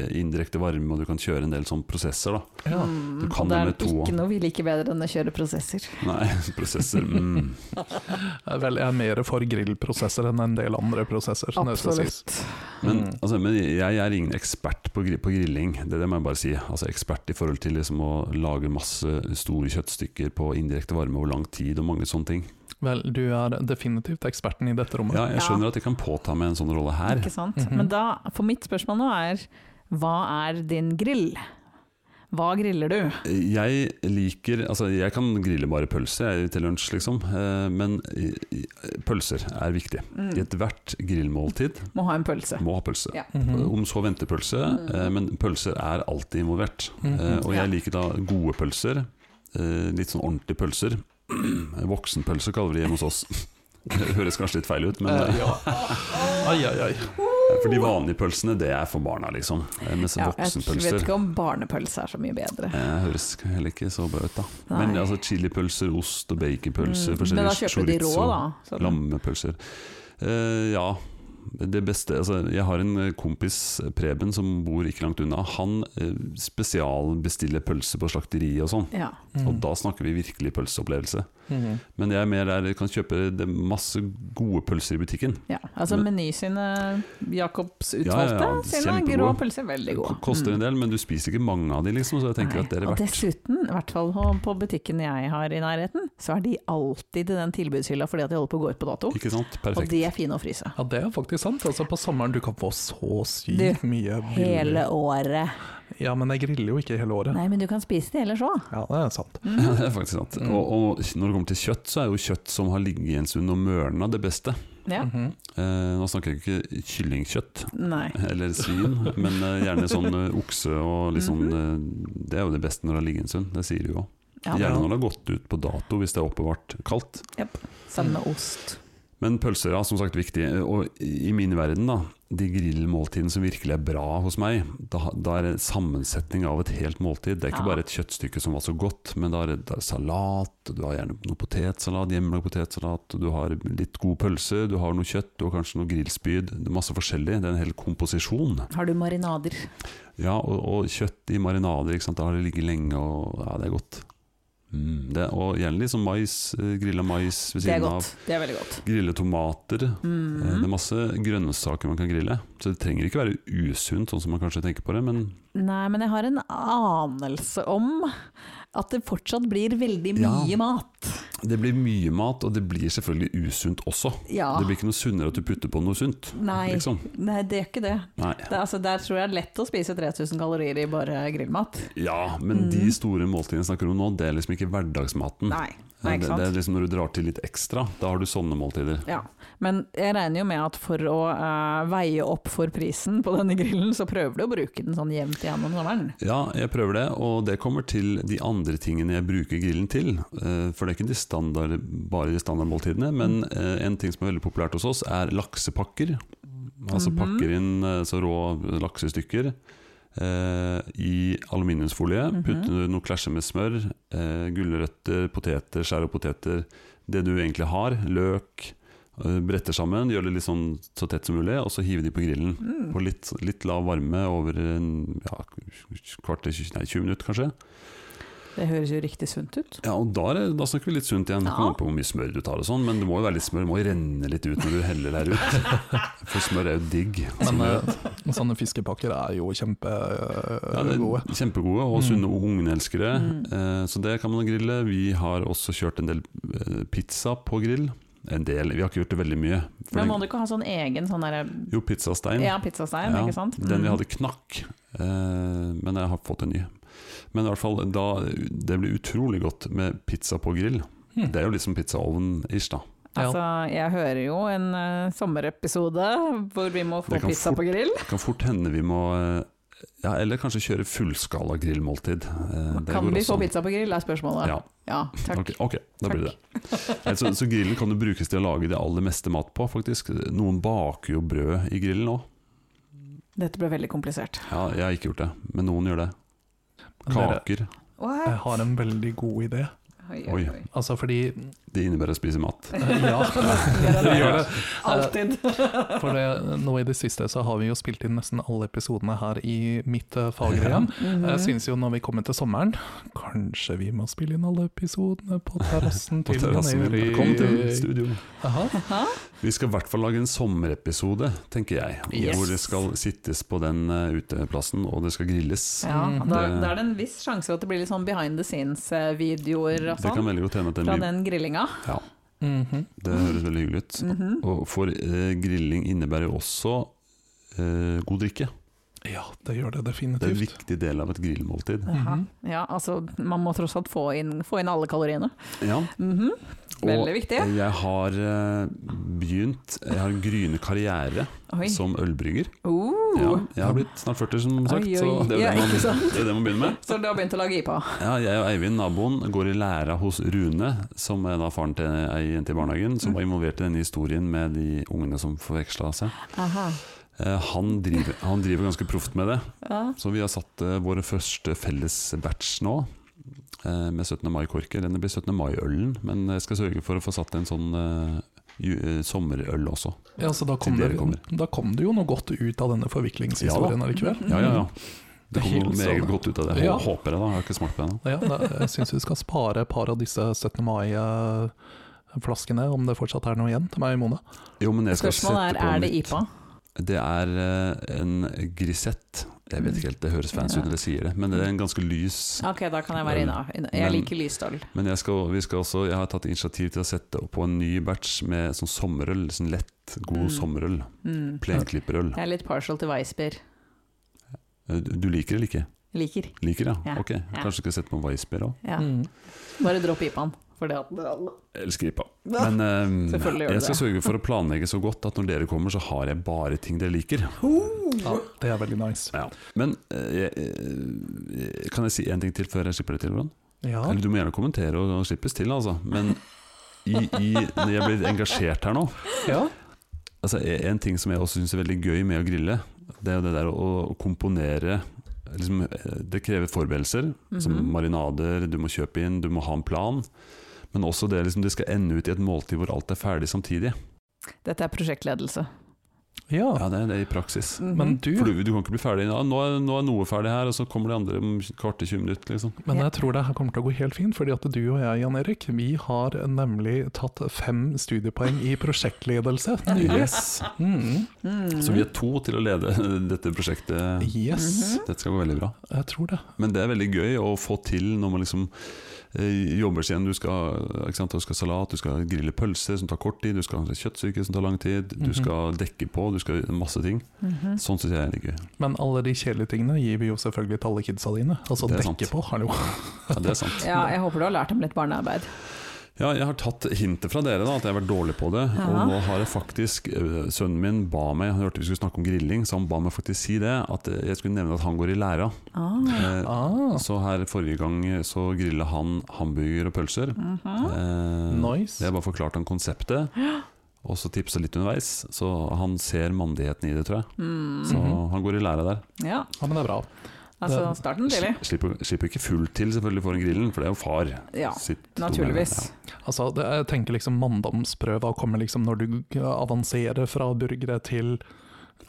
S1: eh, indirekte varme, og du kan kjøre en del sånne prosesser. Da.
S3: Ja.
S2: Mm,
S1: Du kan
S2: og
S1: det
S2: det er
S1: med to.
S2: ikke noe vi liker bedre enn å kjøre prosesser.
S1: Nei, prosesser mm.
S3: Eh, Vel, jeg er mer for grillprosesser enn en del andre prosesser. som Sånn det skal sies.
S2: Absolutt.
S1: men,
S3: Mm.
S1: altså, men jeg, jeg er ingen ekspert på, gri- på grilling, det, det må jeg bare si. Altså Ekspert i forhold til liksom, å lage masse store kjøttstykker på indirekte varme over lang tid og mange sånne ting.
S3: Vel, du er definitivt eksperten i dette rommet.
S1: Ja, jeg skjønner at jeg kan påta meg en sånn rolle her.
S2: Ikke sant?
S3: Mhm.
S2: Men da, for mitt spørsmål nå er hva er din grill? Hva griller du?
S1: Jeg liker Altså, jeg kan grille bare pølse jeg, til lunsj, liksom. Eh, Men i- i- pølser er viktig.
S2: Mm.
S1: I ethvert grillmåltid
S2: Må ha en pølse.
S1: må ha pølse.
S2: Ja.
S3: Mhm.
S1: Om så ventepølse, eh, men pølser er alltid involvert.
S3: Mhm.
S1: Eh, Og
S2: Ja.
S1: jeg liker da gode pølser. eh, Litt sånn ordentlige pølser. Voksenpølse kaller vi det hjemme hos oss. Det høres kanskje litt feil ut, men
S3: Eh,
S1: eh,
S3: ja. Ai, ai, ai.
S1: for de vanlige pølsene, det er for barna, liksom. Eh, Mens
S2: Ja, jeg vet
S1: voksenpølser
S2: ikke om barnepølse er så mye bedre.
S1: Eh, høres heller ikke så bra ut, da. Men
S2: Nei.
S1: altså chilipølser, ost og baconpølser,
S2: Mm,
S1: forskjellige
S2: Men da kjøper de rå, da. sånn.
S1: lammepølser. Eh, ja, det beste altså, Jeg har en eh, kompis, Preben, som bor ikke langt unna. Han eh, spesialbestiller pølser på slakteriet og sånn.
S2: Ja.
S1: Og
S3: Mhm.
S1: da snakker vi virkelig pølseopplevelse.
S3: Mhm.
S1: Men jeg er mer der jeg kan kjøpe det er masse gode pølser i butikken.
S2: ja. Altså
S1: Men-
S2: Meny sine Jacobs
S1: Ja,
S2: utvalgte,
S1: ja, ja,
S2: sine
S1: kjempegode.
S2: grå pølser, veldig gode. Mm.
S1: K- Koster en del, men du spiser ikke mange av de, liksom. Så jeg tenker
S2: Nei,
S1: at det er
S2: og
S1: verdt.
S2: dessuten, i hvert fall på, på butikken jeg har i nærheten, så er de alltid i den tilbudshylla fordi at de holder på å gå ut på dato.
S1: Ikke sant?
S2: Og
S1: Perfekt.
S2: de er fine å fryse.
S3: Ja, det er faktisk sant. Altså, på sommeren du kan få så sykt
S2: Du,
S3: mye billig-
S2: Hele året.
S3: Ja, men jeg griller jo ikke hele året.
S2: Nei, men du kan spise det ellers Mhm. òg.
S3: Ja, det er sant.
S1: Ja, det er faktisk sant.
S3: Mm.
S1: Og, og når det kommer til kjøtt, så er jo kjøtt som har ligget i en stund og mørna det beste.
S2: Ja.
S3: Mhm.
S1: Eh, nå snakker jeg ikke kyllingkjøtt
S2: Nei.
S1: eller svin, men eh, gjerne sånn eh, okse og litt
S2: Mhm.
S1: sånn eh, Det er jo det beste når det har ligget en stund, det sier de jo.
S2: Ja,
S1: Gjerne når det har gått ut på dato hvis det er oppbevart kaldt.
S2: Sammen med ost.
S1: Men pølser er som sagt viktig. Og i min verden, da, de grillmåltidene som virkelig er bra hos meg, da, da er det sammensetning av et helt måltid. Det er ikke
S2: Ja.
S1: bare et kjøttstykke som var så godt, men da er det, da er det salat, og du har gjerne noe potetsalat, hjemmelagd potetsalat, og du har litt god pølse, du har noe kjøtt, du har kanskje noe grillspyd. Det er masse forskjellig. Det er en hel komposisjon.
S2: Har du marinader?
S1: Ja, og, og kjøtt i marinader, ikke sant? da har det ligget lenge, og ja, det er godt. Mm, det, og gjerne litt sånn mais, grilla mais ved
S2: Det er
S1: siden av.
S2: godt. Det er veldig godt.
S1: Grille tomater.
S2: Mm.
S1: Eh, Det er masse grønnsaker man kan grille. Så det trenger ikke være usunt, sånn som man kanskje tenker på det. Men
S2: Nei, men jeg har en anelse om at det fortsatt blir veldig
S1: Ja.
S2: mye mat.
S1: det blir mye mat, og det blir selvfølgelig usunt også.
S2: Ja.
S1: Det blir ikke noe sunnere at du putter på noe sunt.
S2: Ah. Nei.
S1: Liksom.
S2: Nei, det er ikke det.
S1: Nei.
S2: det altså, der tror jeg det er lett å spise 3000 kalorier i bare grillmat.
S1: Ja, men de store måltidene jeg snakker om nå, det er liksom ikke hverdagsmaten.
S2: Mm. Nei, nei
S1: det,
S2: ikke
S1: det er
S2: sant.
S1: liksom når du drar til litt ekstra, da har du sånne måltider.
S2: Ja. Men jeg regner jo med at for å eh, veie opp for prisen på denne grillen, så prøver du å bruke den sånn jevnt igjennom sommeren.
S1: Ja, jeg prøver det, og det kommer til de andre tingene jeg bruker grillen til. Eh, For det er ikke de standard, bare de standardmåltidene, men eh, en ting som er veldig populært hos oss, er laksepakker. Altså
S2: Mhm.
S1: pakker inn eh, så rå laksestykker eh, i aluminiumsfolie.
S2: Mhm.
S1: Putter noe klasje med smør, eh, gulrøtter, poteter, skjær opp poteter. Det du egentlig har, løk. eh, Bretter sammen, gjør det litt sånn så tett som mulig, og så hiver de på grillen
S2: Mm.
S1: på litt, litt lav varme over en, ja, kvarter, nei, 20 minutter kanskje.
S2: Det høres jo riktig sunt ut.
S1: Ja, og da, er, det- da snakker vi litt sunt igjen. Det
S2: Ja.
S1: kommer an på hvor mye smør du tar og sånn, men det må jo være litt smør. Det må jo renne litt ut når du heller det her ut. For smør er jo digg. som
S3: Men
S1: du
S3: eh,
S1: vet.
S3: sånne fiskepakker er jo eh,
S1: ja, det er
S3: kjempegode.
S1: kjempegode og sunne og hungeelskere.
S2: Mm.
S1: Eh, Så det kan man grille. Vi har også kjørt en del eh, pizza på grill. En del, vi har ikke gjort det veldig mye. For
S2: Men må
S1: den-
S2: du ikke ha sånn egen sånn derre
S1: Jo, pizzastein.
S2: ja, pizzastein,
S1: Ja,
S2: ikke sant?
S1: Den vi
S2: Mm.
S1: hadde knakk, eh, men jeg har fått en ny. Men i hvert fall, da, det blir utrolig godt med pizza på grill.
S3: Mhm.
S1: Det er jo liksom pizzaovn-ish, da.
S3: Ja.
S2: Altså, jeg hører jo en eh, sommerepisode hvor vi må få
S1: Det kan
S2: pizza
S1: fort-
S2: på grill.
S1: Det kan fort hende vi må eh, ja, Eller kanskje kjøre fullskala grillmåltid. Eh, det
S2: Kan
S1: går
S2: vi
S1: også
S2: få
S1: an.
S2: pizza på grill, er spørsmålet.
S1: Ja,
S2: Ja, takk.
S1: ok, ok, da blir det
S2: Takk.
S1: det. Så, så grillen kan jo brukes til å lage det aller meste mat på, faktisk. Noen baker jo brød i grillen òg.
S2: Dette ble veldig komplisert.
S1: Ja, jeg har ikke gjort det, men noen gjør det.
S3: Dere,
S1: Kaker.
S3: jeg har en veldig god idé.
S2: Oi,
S1: Oi.
S3: Altså fordi
S1: Det innebærer å spise mat.
S3: eh, Ja, det gjør det.
S2: Alltid.
S3: For det, nå i det siste så har vi jo spilt inn nesten alle episodene her i mitt eh, fagre hjem.
S2: Mm-hmm.
S3: Jeg
S1: Mm.
S3: syns jo når vi kommer til sommeren, kanskje vi må spille inn alle episodene på terrassen
S1: På
S3: til
S1: terrassen.
S3: Neri.
S1: Velkommen til studio.
S3: Aha.
S1: Vi skal i hvert fall lage en sommerepisode, tenker jeg.
S3: Yes.
S1: Hvor det skal sittes på den eh, uteplassen, og det skal grilles.
S2: Ja,
S3: Mm.
S2: da,
S1: Det-
S2: da er det en viss sjanse for at det blir litt sånn behind the scenes-videoer og
S1: Det kan
S2: sånn
S1: veldig godt hende at det
S2: fra
S1: blir
S2: den grillinga.
S1: ja.
S3: Mhm.
S1: Det høres veldig hyggelig ut.
S2: Mhm.
S1: Og for eh, grilling innebærer jo også eh, god drikke.
S3: Ja, det gjør det
S1: Det er en
S3: definitivt.
S1: viktig del av et grillmåltid.
S2: Jaha.
S3: Mhm.
S1: Mm-hmm.
S2: Ja, altså man må tross alt få inn, få inn alle kaloriene.
S1: Ja,
S2: Mhm. Veldig
S1: og
S2: viktig.
S1: jeg har eh, begynt Jeg har en gryende karriere
S2: Oi.
S1: som ølbrygger.
S2: Oh.
S1: Ja, jeg har blitt snart 40, som sagt,
S2: Oi, oi.
S1: så det er jo
S2: Ja,
S1: det man,
S2: ikke sant?
S1: det er det man begynner med.
S2: Så du har begynt å lage IPA?
S1: Ja, jeg og Eivind, naboen, går i læra hos Rune, som er da faren til ei jente i barnehagen,
S2: Mm.
S1: som var involvert i denne historien med de ungene som forveksla seg.
S2: Aha.
S1: Eh, Han driver, han driver ganske proft med det,
S2: Ja.
S1: så vi har satt eh, våre første felles batch nå. eh, Med 17. mai-korker. Den blir 17. mai-ølen, men jeg skal sørge for å få satt en sånn eh, ju- eh, sommerøl også.
S3: Ja, så da kom,
S1: Til dere
S3: det,
S1: kommer.
S3: da kom det jo noe godt ut av denne forviklingshistorien
S1: Ja
S3: allikevel.
S1: Ja, ja, ja. Det
S3: Helt
S1: kommer
S3: sånn.
S1: meget godt ut av det.
S3: Ja.
S1: Hå- Håper jeg, da. Jeg har ikke smakt på det ennå.
S3: Ja, da, jeg syns vi skal spare et par av disse 17. mai-flaskene, om det fortsatt er noe igjen, til meg i Mona.
S1: Jo, men jeg skal
S2: Spørsmålet er
S1: sette på
S2: er det
S1: litt-
S2: IPA.
S1: Det er eh, en grisett. Jeg vet ikke helt, det høres fancy ut når jeg sier det, men det er en ganske lys
S2: Ok, da kan jeg være inne. inne. Jeg
S1: Men-
S2: liker lyst øl.
S1: Men jeg, skal, vi skal også, jeg har tatt initiativ til å sette opp på en ny batch med sånn sommerøl. Sånn lett, god
S2: Mm.
S1: sommerøl.
S2: Mm.
S1: Plenklipperøl.
S2: Jeg er litt partial til Weissbier.
S1: Eh, Du du liker det eller ikke?
S2: Liker.
S1: Liker det, ja.
S2: Ja,
S1: Ok.
S2: ja.
S1: Kanskje skal sette på en Weissbier òg?
S2: Ja.
S3: Mm.
S2: Bare dropp IPA-en. For det at
S1: Elsker IPA. Men eh,
S2: Selvfølgelig gjør du
S1: jeg skal
S2: det.
S1: sørge for å planlegge så godt at når dere kommer, så har jeg bare ting dere liker.
S3: Ja, det er veldig nice.
S1: Ja. Men eh, jeg, eh, kan jeg si én ting til før jeg slipper det til? Hvordan?
S3: Ja,
S1: Eller du må gjerne kommentere og, og slippes til, altså. Men i, i, når jeg blir engasjert her nå
S3: ja.
S1: altså, e- En ting som jeg også syns er veldig gøy med å grille, det er jo det der å, å komponere liksom, eh, Det krever forberedelser, som
S2: Mhm.
S1: marinader, du må kjøpe inn, du må ha en plan. Men også det liksom, det skal ende ut i et måltid hvor alt er ferdig samtidig.
S2: Dette er prosjektledelse.
S3: ja.
S1: Ja, Det, det er i praksis.
S2: Mhm.
S3: Men du,
S1: For du, du kan ikke bli ferdig ja, nå, er, 'Nå er noe ferdig her', og så kommer det andre om kvart til 20 minutter. Liksom.
S3: Men
S2: Ja.
S3: jeg tror det her kommer til å gå helt fint, fordi at du og jeg, Jan Erik, vi har nemlig tatt fem studiepoeng i prosjektledelse nylig.
S1: Yes.
S3: Mm.
S2: Mhm.
S1: Så vi er to til å lede dette prosjektet.
S3: Yes,
S2: Mhm.
S1: Dette skal gå veldig bra.
S3: jeg tror det.
S1: Men det er veldig gøy å få til når man liksom eh, jobber seg igjen. Du skal, ikke sant? du skal ha salat, du skal grille pølser som tar kort tid, du skal ha kjøttsyke som tar lang tid, du
S3: Mhm.
S1: skal dekke på, du skal masse ting.
S2: Mhm.
S1: Sånn syns jeg er litt gøy.
S3: Men alle de kjedelige tingene gir vi jo selvfølgelig til alle kidsa dine. Altså
S1: Det er
S3: dekke
S1: sant.
S3: på, hallo.
S1: Ja, det er sant.
S2: Ja, jeg håper du har lært dem litt barnearbeid.
S1: Ja, jeg har tatt hintet fra dere, da, at jeg har vært dårlig på det.
S2: Ja.
S1: Og nå har jeg faktisk eh, Sønnen min ba meg, han hørte vi skulle snakke om grilling, så han ba meg faktisk si det, at eh, jeg skulle nevne at han går i læra.
S2: Ah.
S1: Eh,
S3: Ah,
S1: Så her forrige gang så grilla han hamburger og pølser.
S2: Mhm.
S1: Eh, Så
S3: nice.
S1: Jeg bare forklarte han konseptet, og så tipsa litt underveis. Så han ser mandigheten i det, tror jeg.
S2: Mm.
S1: Så
S3: Mhm.
S1: han går i lære der.
S2: Ja,
S3: Ja, men det er bra.
S2: altså starten tidlig.
S1: Sli- Slipper, slipper ikke fullt til selvfølgelig foran grillen, for det er jo far.
S2: Ja,
S1: sitt dumme-
S2: naturligvis.
S3: Altså, det, jeg tenker liksom manndomsprøva kommer liksom når du avanserer fra burgere til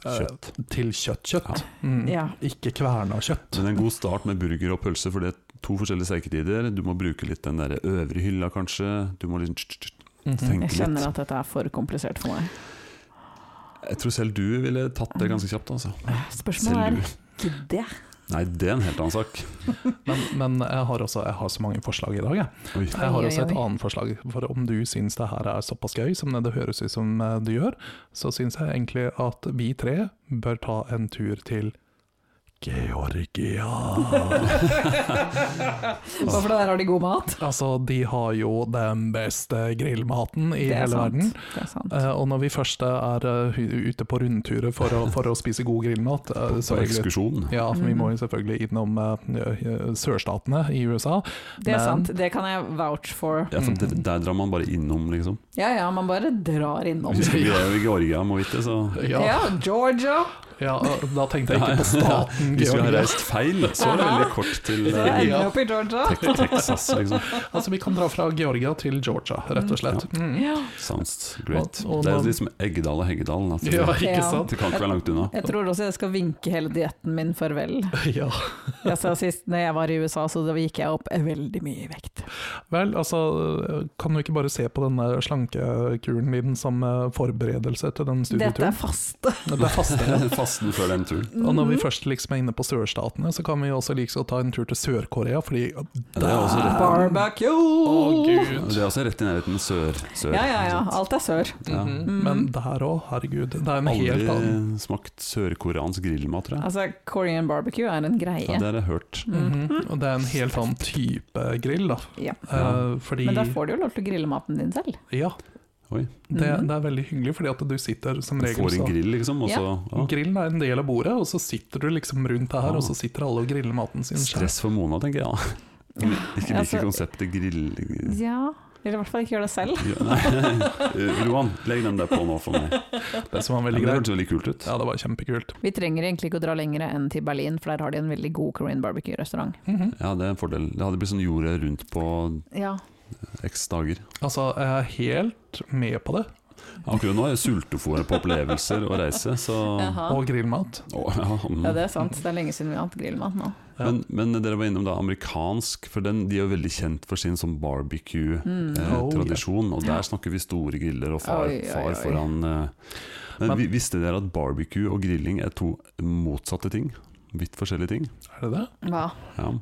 S1: Ja.
S3: eh,
S1: Kjøtt.
S3: Til kjøtt, kjøtt. Mm.
S2: Ja.
S3: Ikke kverna kjøtt.
S1: Men en god start med burger og pølse, for det er to forskjellige steiketider. Du må bruke litt den der øvre hylla, kanskje. Du må liksom tsk, tsk, tsk,
S3: Mhm.
S1: tenke
S2: Jeg kjenner
S1: litt.
S2: at dette er for komplisert for meg.
S1: Jeg tror selv du ville tatt det ganske kjapt, altså. Selv
S2: Spørsmålet
S1: du.
S2: er gidder jeg?
S1: Nei, det er en helt annen sak.
S3: Men, men jeg, har også, jeg har så mange forslag i dag, jeg.
S1: Oi.
S3: Jeg har
S2: Oi, oi,
S3: også et
S2: oi.
S3: annet forslag, for om du syns det her er såpass gøy som det høres ut som eh, du gjør, så syns jeg egentlig at vi tre bør ta en tur til Georgia.
S2: Hvorfor det der har de god mat?
S3: Altså, de har jo den beste grillmaten i
S2: Det er
S3: hele
S2: sant.
S3: verden.
S2: Det er sant.
S3: Eh, og når vi først er eh, hu- ute på rundturer for å, for å spise god grillmat eh,
S1: På
S3: selvfølgelig-
S1: ekskursjon. Mm.
S3: Ja, vi må jo selvfølgelig innom eh, sørstatene i USA.
S2: Det er
S3: men-
S2: sant, det kan jeg vouch for.
S1: Ja, for det- der drar man bare innom, liksom.
S2: Ja ja, man bare drar innom.
S1: Vi vi er jo i Georgia, må vite, så
S2: Ja, Georgia.
S3: Ja, da tenkte jeg ikke på staten
S1: Hvis vi har
S3: Georgia.
S1: reist feil, så er det veldig kort til
S2: Så
S1: eh,
S2: ender vi
S3: Ja.
S2: opp i Georgia.
S1: Tex- Texas, liksom.
S3: Altså, vi kan dra fra Georgia til Georgia, rett og slett. Mm.
S2: Ja.
S1: Sounds great.
S3: Og- og
S1: Det er
S3: man-
S1: liksom Eggedal og Heggedal. da, for
S3: Mm. Ja,
S1: Det
S3: ikke
S2: Ja.
S3: sant?
S1: det kan ikke være langt unna.
S2: Jeg tror også jeg skal vinke hele dietten min farvel.
S3: Ja.
S2: Jeg sa sist når jeg var i USA, så da gikk jeg opp veldig mye i vekt.
S3: Vel, altså, kan du ikke bare se på denne slankekuren din som eh, forberedelse til den
S2: Dette Mm.
S3: studieturen?
S2: er faste.
S3: Det er faste, ja.
S1: Fasten før den turen.
S3: Og når vi først liksom er inne på sørstatene, så kan vi også like så ta en tur til Sør-Korea, fordi
S1: Det er også rett,
S2: Barbecue!
S1: det er også rett i nærheten sør. sør
S2: ja, ja, ja.
S1: ikke sant?
S2: Alt er sør.
S3: Mm-hmm.
S1: Ja.
S2: Mm.
S3: Men der òg, herregud. Det er en Mhm. helt annen
S1: Aldri smakt sørkoreansk grillmat, tror jeg.
S2: Altså, Korean barbecue er en
S1: Ja,
S2: greie.
S1: det har jeg hørt.
S2: Mhm.
S3: Mhm. Og det er en helt annen type grill, da.
S2: Ja.
S3: Eh, fordi
S2: Men der får du jo lov til å grille maten din selv.
S3: Ja,
S1: Oi.
S3: det,
S2: Mhm.
S3: det er veldig hyggelig, fordi at du sitter som
S1: Du
S3: regel
S1: får en
S3: så-
S1: grill, liksom, og så ja.
S3: Grillen er en del av bordet, og så sitter du liksom rundt det her,
S1: Ah.
S3: og så sitter alle og griller maten sin. selv.
S1: Stress for Mona, tenker jeg. da. Som Ikke
S2: Altså-
S1: liker konseptet grill...
S2: Ja, eller i hvert fall ikke gjør det selv.
S1: Ja, Nei. Roan, legg den der på nå for meg.
S3: Det
S1: Ja,
S3: som var
S1: men
S3: veldig
S1: det
S3: greit.
S1: hørtes veldig kult ut.
S3: Ja, det var kjempekult.
S2: Vi trenger egentlig ikke å dra lenger enn til Berlin, for der har de en veldig god Korean barbecue-restaurant.
S3: Mhm.
S1: Ja, det er en fordel. Det hadde blitt sånn jorda rundt på
S2: Ja.
S1: x dager.
S3: Altså, jeg er helt med på det.
S1: Akkurat nå er jeg sultefòret på opplevelser og reise, så
S2: Ah.
S3: Og grillmat.
S1: Å, ja, mm.
S2: det er sant. Det er lenge siden vi har hatt grillmat nå.
S3: Ja.
S1: men, men dere var innom da amerikansk, for den, de er jo veldig kjent for sin sånn
S2: Mm.
S3: Oh,
S1: barbecue-tradisjon. og der snakker vi store griller og far,
S2: Oi, oi,
S1: far
S2: oi.
S1: foran eh. Men
S3: Men-
S1: vi- visste dere at barbecue og grilling er to motsatte ting? Vidt forskjellige ting.
S3: Er det det?
S2: Hva?
S1: Ja.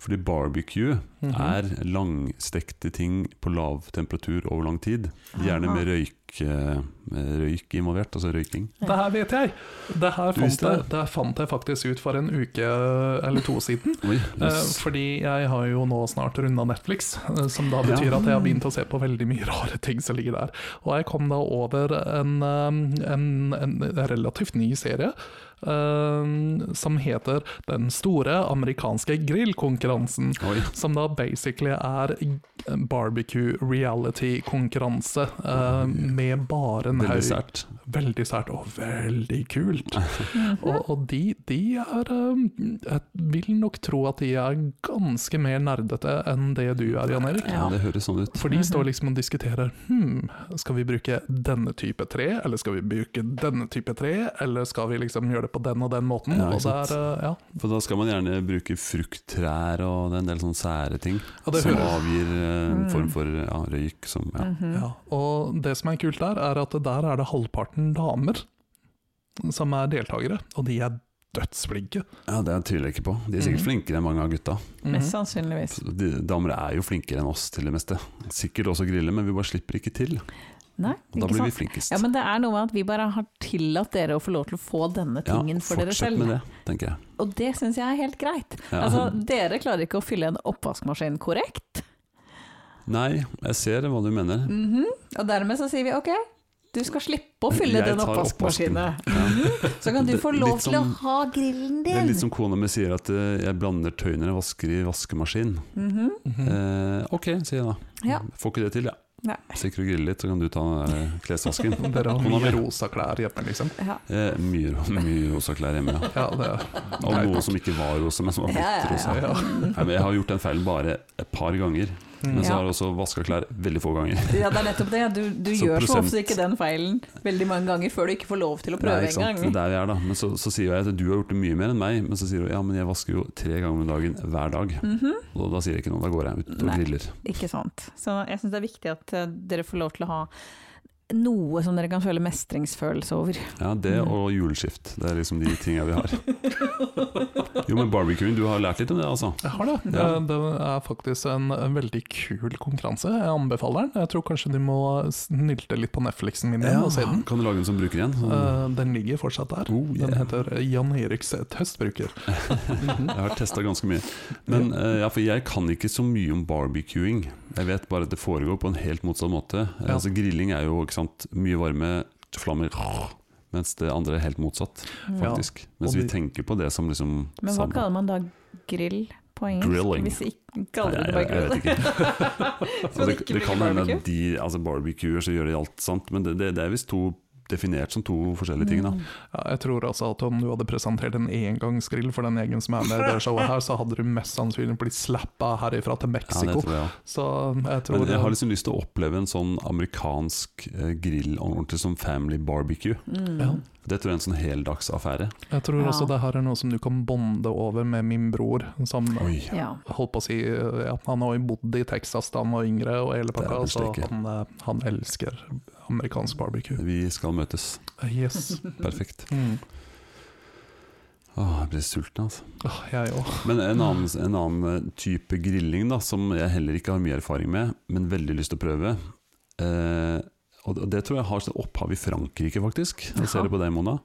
S1: Fordi barbecue
S3: Mhm.
S1: er langstekte ting på lav temperatur over lang tid. Gjerne med røyk, eh, røyk involvert, altså røyking.
S3: Det her vet jeg! Det her
S1: Du
S3: fant
S1: visste
S3: jeg,
S1: det?
S3: det fant jeg faktisk ut for en uke eller to siden.
S1: Oi,
S3: Eh,
S1: yes.
S3: Fordi jeg har jo nå snart runda Netflix, eh, som da betyr
S1: Ja.
S3: at jeg har begynt å se på veldig mye rare ting som ligger der. Og jeg kom da over en, eh, en, en relativt ny serie eh, som heter Den store amerikanske grillkonkurransen.
S1: Oi.
S3: Som da basically er barbecue reality-konkurranse eh, med bare en
S1: Veldig
S3: haug
S1: sært.
S3: Veldig sært og veldig kult.
S2: Mm.
S3: Og, og de, de er um, Jeg vil nok tro at de er ganske mer nerdete enn det du er, Jan Erik.
S1: Ja, det høres sånn ut.
S3: For de står liksom og diskuterer Hm, skal vi bruke denne type tre, eller skal vi bruke denne type tre, eller skal vi liksom gjøre det på den og den måten?
S1: Ja,
S3: og
S1: ikke
S3: det
S1: sant.
S3: er, uh, ja.
S1: For da skal man gjerne bruke frukttrær og det er en del sånne sære ting
S3: Og det
S1: som
S3: hører-
S1: avgir eh, en
S2: Mm.
S1: form for ja, røyk som ja.
S2: Mhm.
S3: ja. Og det som er kult der, er at der er det halvparten damer som er deltakere, og de er dødsflinke.
S1: ja, det tviler jeg ikke på. De er sikkert
S2: Mm.
S3: Mhm.
S1: flinkere enn mange av gutta.
S2: Mest sannsynligvis.
S1: De, damer er jo flinkere enn oss til det meste. Sikkert også grille, men vi bare slipper ikke til.
S2: Nei,
S1: Da
S2: ikke
S1: blir vi
S2: sant.
S1: flinkest.
S2: Ja, men det er noe med at vi bare har tillatt dere å få lov til å få denne
S1: Ja,
S2: tingen for dere
S1: fortsett
S2: selv.
S1: med det, tenker jeg.
S2: Og det syns jeg er helt greit.
S1: Ja.
S2: Altså, dere klarer ikke å fylle en oppvaskmaskin korrekt,
S1: Nei, jeg ser hva du mener.
S2: Mhm. og dermed så sier vi ok, du skal slippe å fylle
S1: Jeg
S2: den
S1: tar oppvasken.
S2: oppvaskmaskinen. Mhm. Så kan du
S1: Det-
S2: få
S1: litt
S2: lov til å
S1: som-
S2: ha grillen
S1: Det er
S2: din.
S1: litt som kona mi sier at eh, jeg blander tøy når jeg vasker i vaskemaskin.
S2: Mhm.
S1: Eh, ok, sier jeg da.
S2: Ja.
S1: Får ikke det til, ja.
S2: Nei.
S1: Sitter og griller litt, så kan du ta den der eh, klesvasken.
S3: Dere har
S1: Kona mi.
S3: mye rosa klær hjemme, liksom.
S2: Ja.
S1: Eh, mye, ro- mye rosa klær hjemme, ja.
S3: Ja, det
S1: Og
S3: Nei,
S1: noe
S3: takk.
S1: som ikke var rosa, men som var
S2: Ja, ja,
S1: blitt
S2: ja. Mm.
S1: rosa.
S3: Ja.
S1: Nei, men jeg har gjort den feilen bare et par ganger. Men så
S2: Ja.
S1: har jeg også vaska klær veldig få ganger.
S2: Ja, det er nettopp det. Du, du
S1: Så
S2: gjør så
S1: prosent-
S2: ofte ikke den feilen veldig mange ganger før du ikke får lov til å
S1: Nei,
S2: prøve
S1: ikke sant? Det er
S2: engang.
S1: der vi er, da. Men så, så sier jeg at du har gjort det mye mer enn meg. Men så sier hun ja, men jeg vasker jo tre ganger om dagen hver dag.
S2: Mhm.
S1: Og da, da sier jeg ikke noe, da går jeg ut og
S2: Nei.
S1: griller.
S2: Ikke sant. Så jeg syns det er viktig at eh, dere får lov til å ha noe som dere kan føle mestringsfølelse over.
S1: Ja, det
S2: Mm.
S1: og juleskift. Det er liksom de tinga vi har. Jo, men barbecuing, du har lært litt om det, altså?
S3: Jeg har det.
S1: Ja.
S3: Det, det er faktisk en, en veldig kul konkurranse. Jeg anbefaler den. Jeg tror kanskje de må snylte litt på Netflixen min igjen og se den.
S1: altså, Kan du lage den som bruker igjen? Sånn.
S3: Eh, den ligger fortsatt der.
S1: Oh,
S3: Den
S1: yeah.
S3: heter Jan Eriks testbruker.
S1: Jeg har testa ganske mye. Men eh, ja, for jeg kan ikke så mye om barbecuing. Jeg vet bare at det foregår på en helt motsatt måte. Eh,
S3: Ja.
S1: Altså Grilling er jo ikke sant, mye varme, flammer Mens det andre er helt motsatt,
S3: Ja.
S1: faktisk. Mens
S3: Og
S1: vi
S3: de-
S1: tenker på det som liksom
S2: Men hva
S1: samme.
S2: kaller man da grill på engelsk?
S1: Grilling.
S2: Hvis ikke
S1: Nei,
S2: kaller
S1: jeg, jeg,
S2: det bare
S1: jeg vet ikke.
S2: grill. Så
S1: Altså,
S2: man
S1: det,
S2: ikke
S1: det
S2: bruker
S1: kan hende
S2: barbecue?
S1: at de altså barbecuer så gjør de alt sant, men det, det, det er visst to definert som to forskjellige ting. da
S2: Mm.
S3: Ja, jeg tror altså at om du hadde presentert en engangsgrill for den gjengen som er med i det showet her, så hadde du mest sannsynlig blitt slappa herifra til
S1: Ja, det
S3: Mexico.
S1: tror jeg også.
S3: så eh, jeg tror
S1: Men jeg har liksom lyst til å oppleve en sånn amerikansk eh, grill ordentlig som family barbecue.
S2: Mm.
S3: Ja.
S1: Det tror jeg er en sånn heldagsaffære.
S3: Jeg tror
S2: Ja.
S3: også det her er noe som du kan bonde over med min bror, som
S1: Oi.
S2: Ja.
S3: holdt på å si ja, Han har jo bodd i Texas da han var yngre, og hele pakka,
S1: Dæven
S3: så
S1: steike.
S3: han, eh, han elsker amerikansk barbecue.
S1: Vi skal møtes.
S3: Eh, Yes.
S1: Perfekt.
S3: Mm.
S1: Åh, jeg blir sulten, altså.
S3: Åh, jeg òg.
S1: Men en annen, en annen eh, type grilling da, som jeg heller ikke har mye erfaring med, men veldig lyst til å prøve eh, Og det- det tror jeg har sitt opphav i Frankrike, faktisk. Jeg ser det på deg, Mona.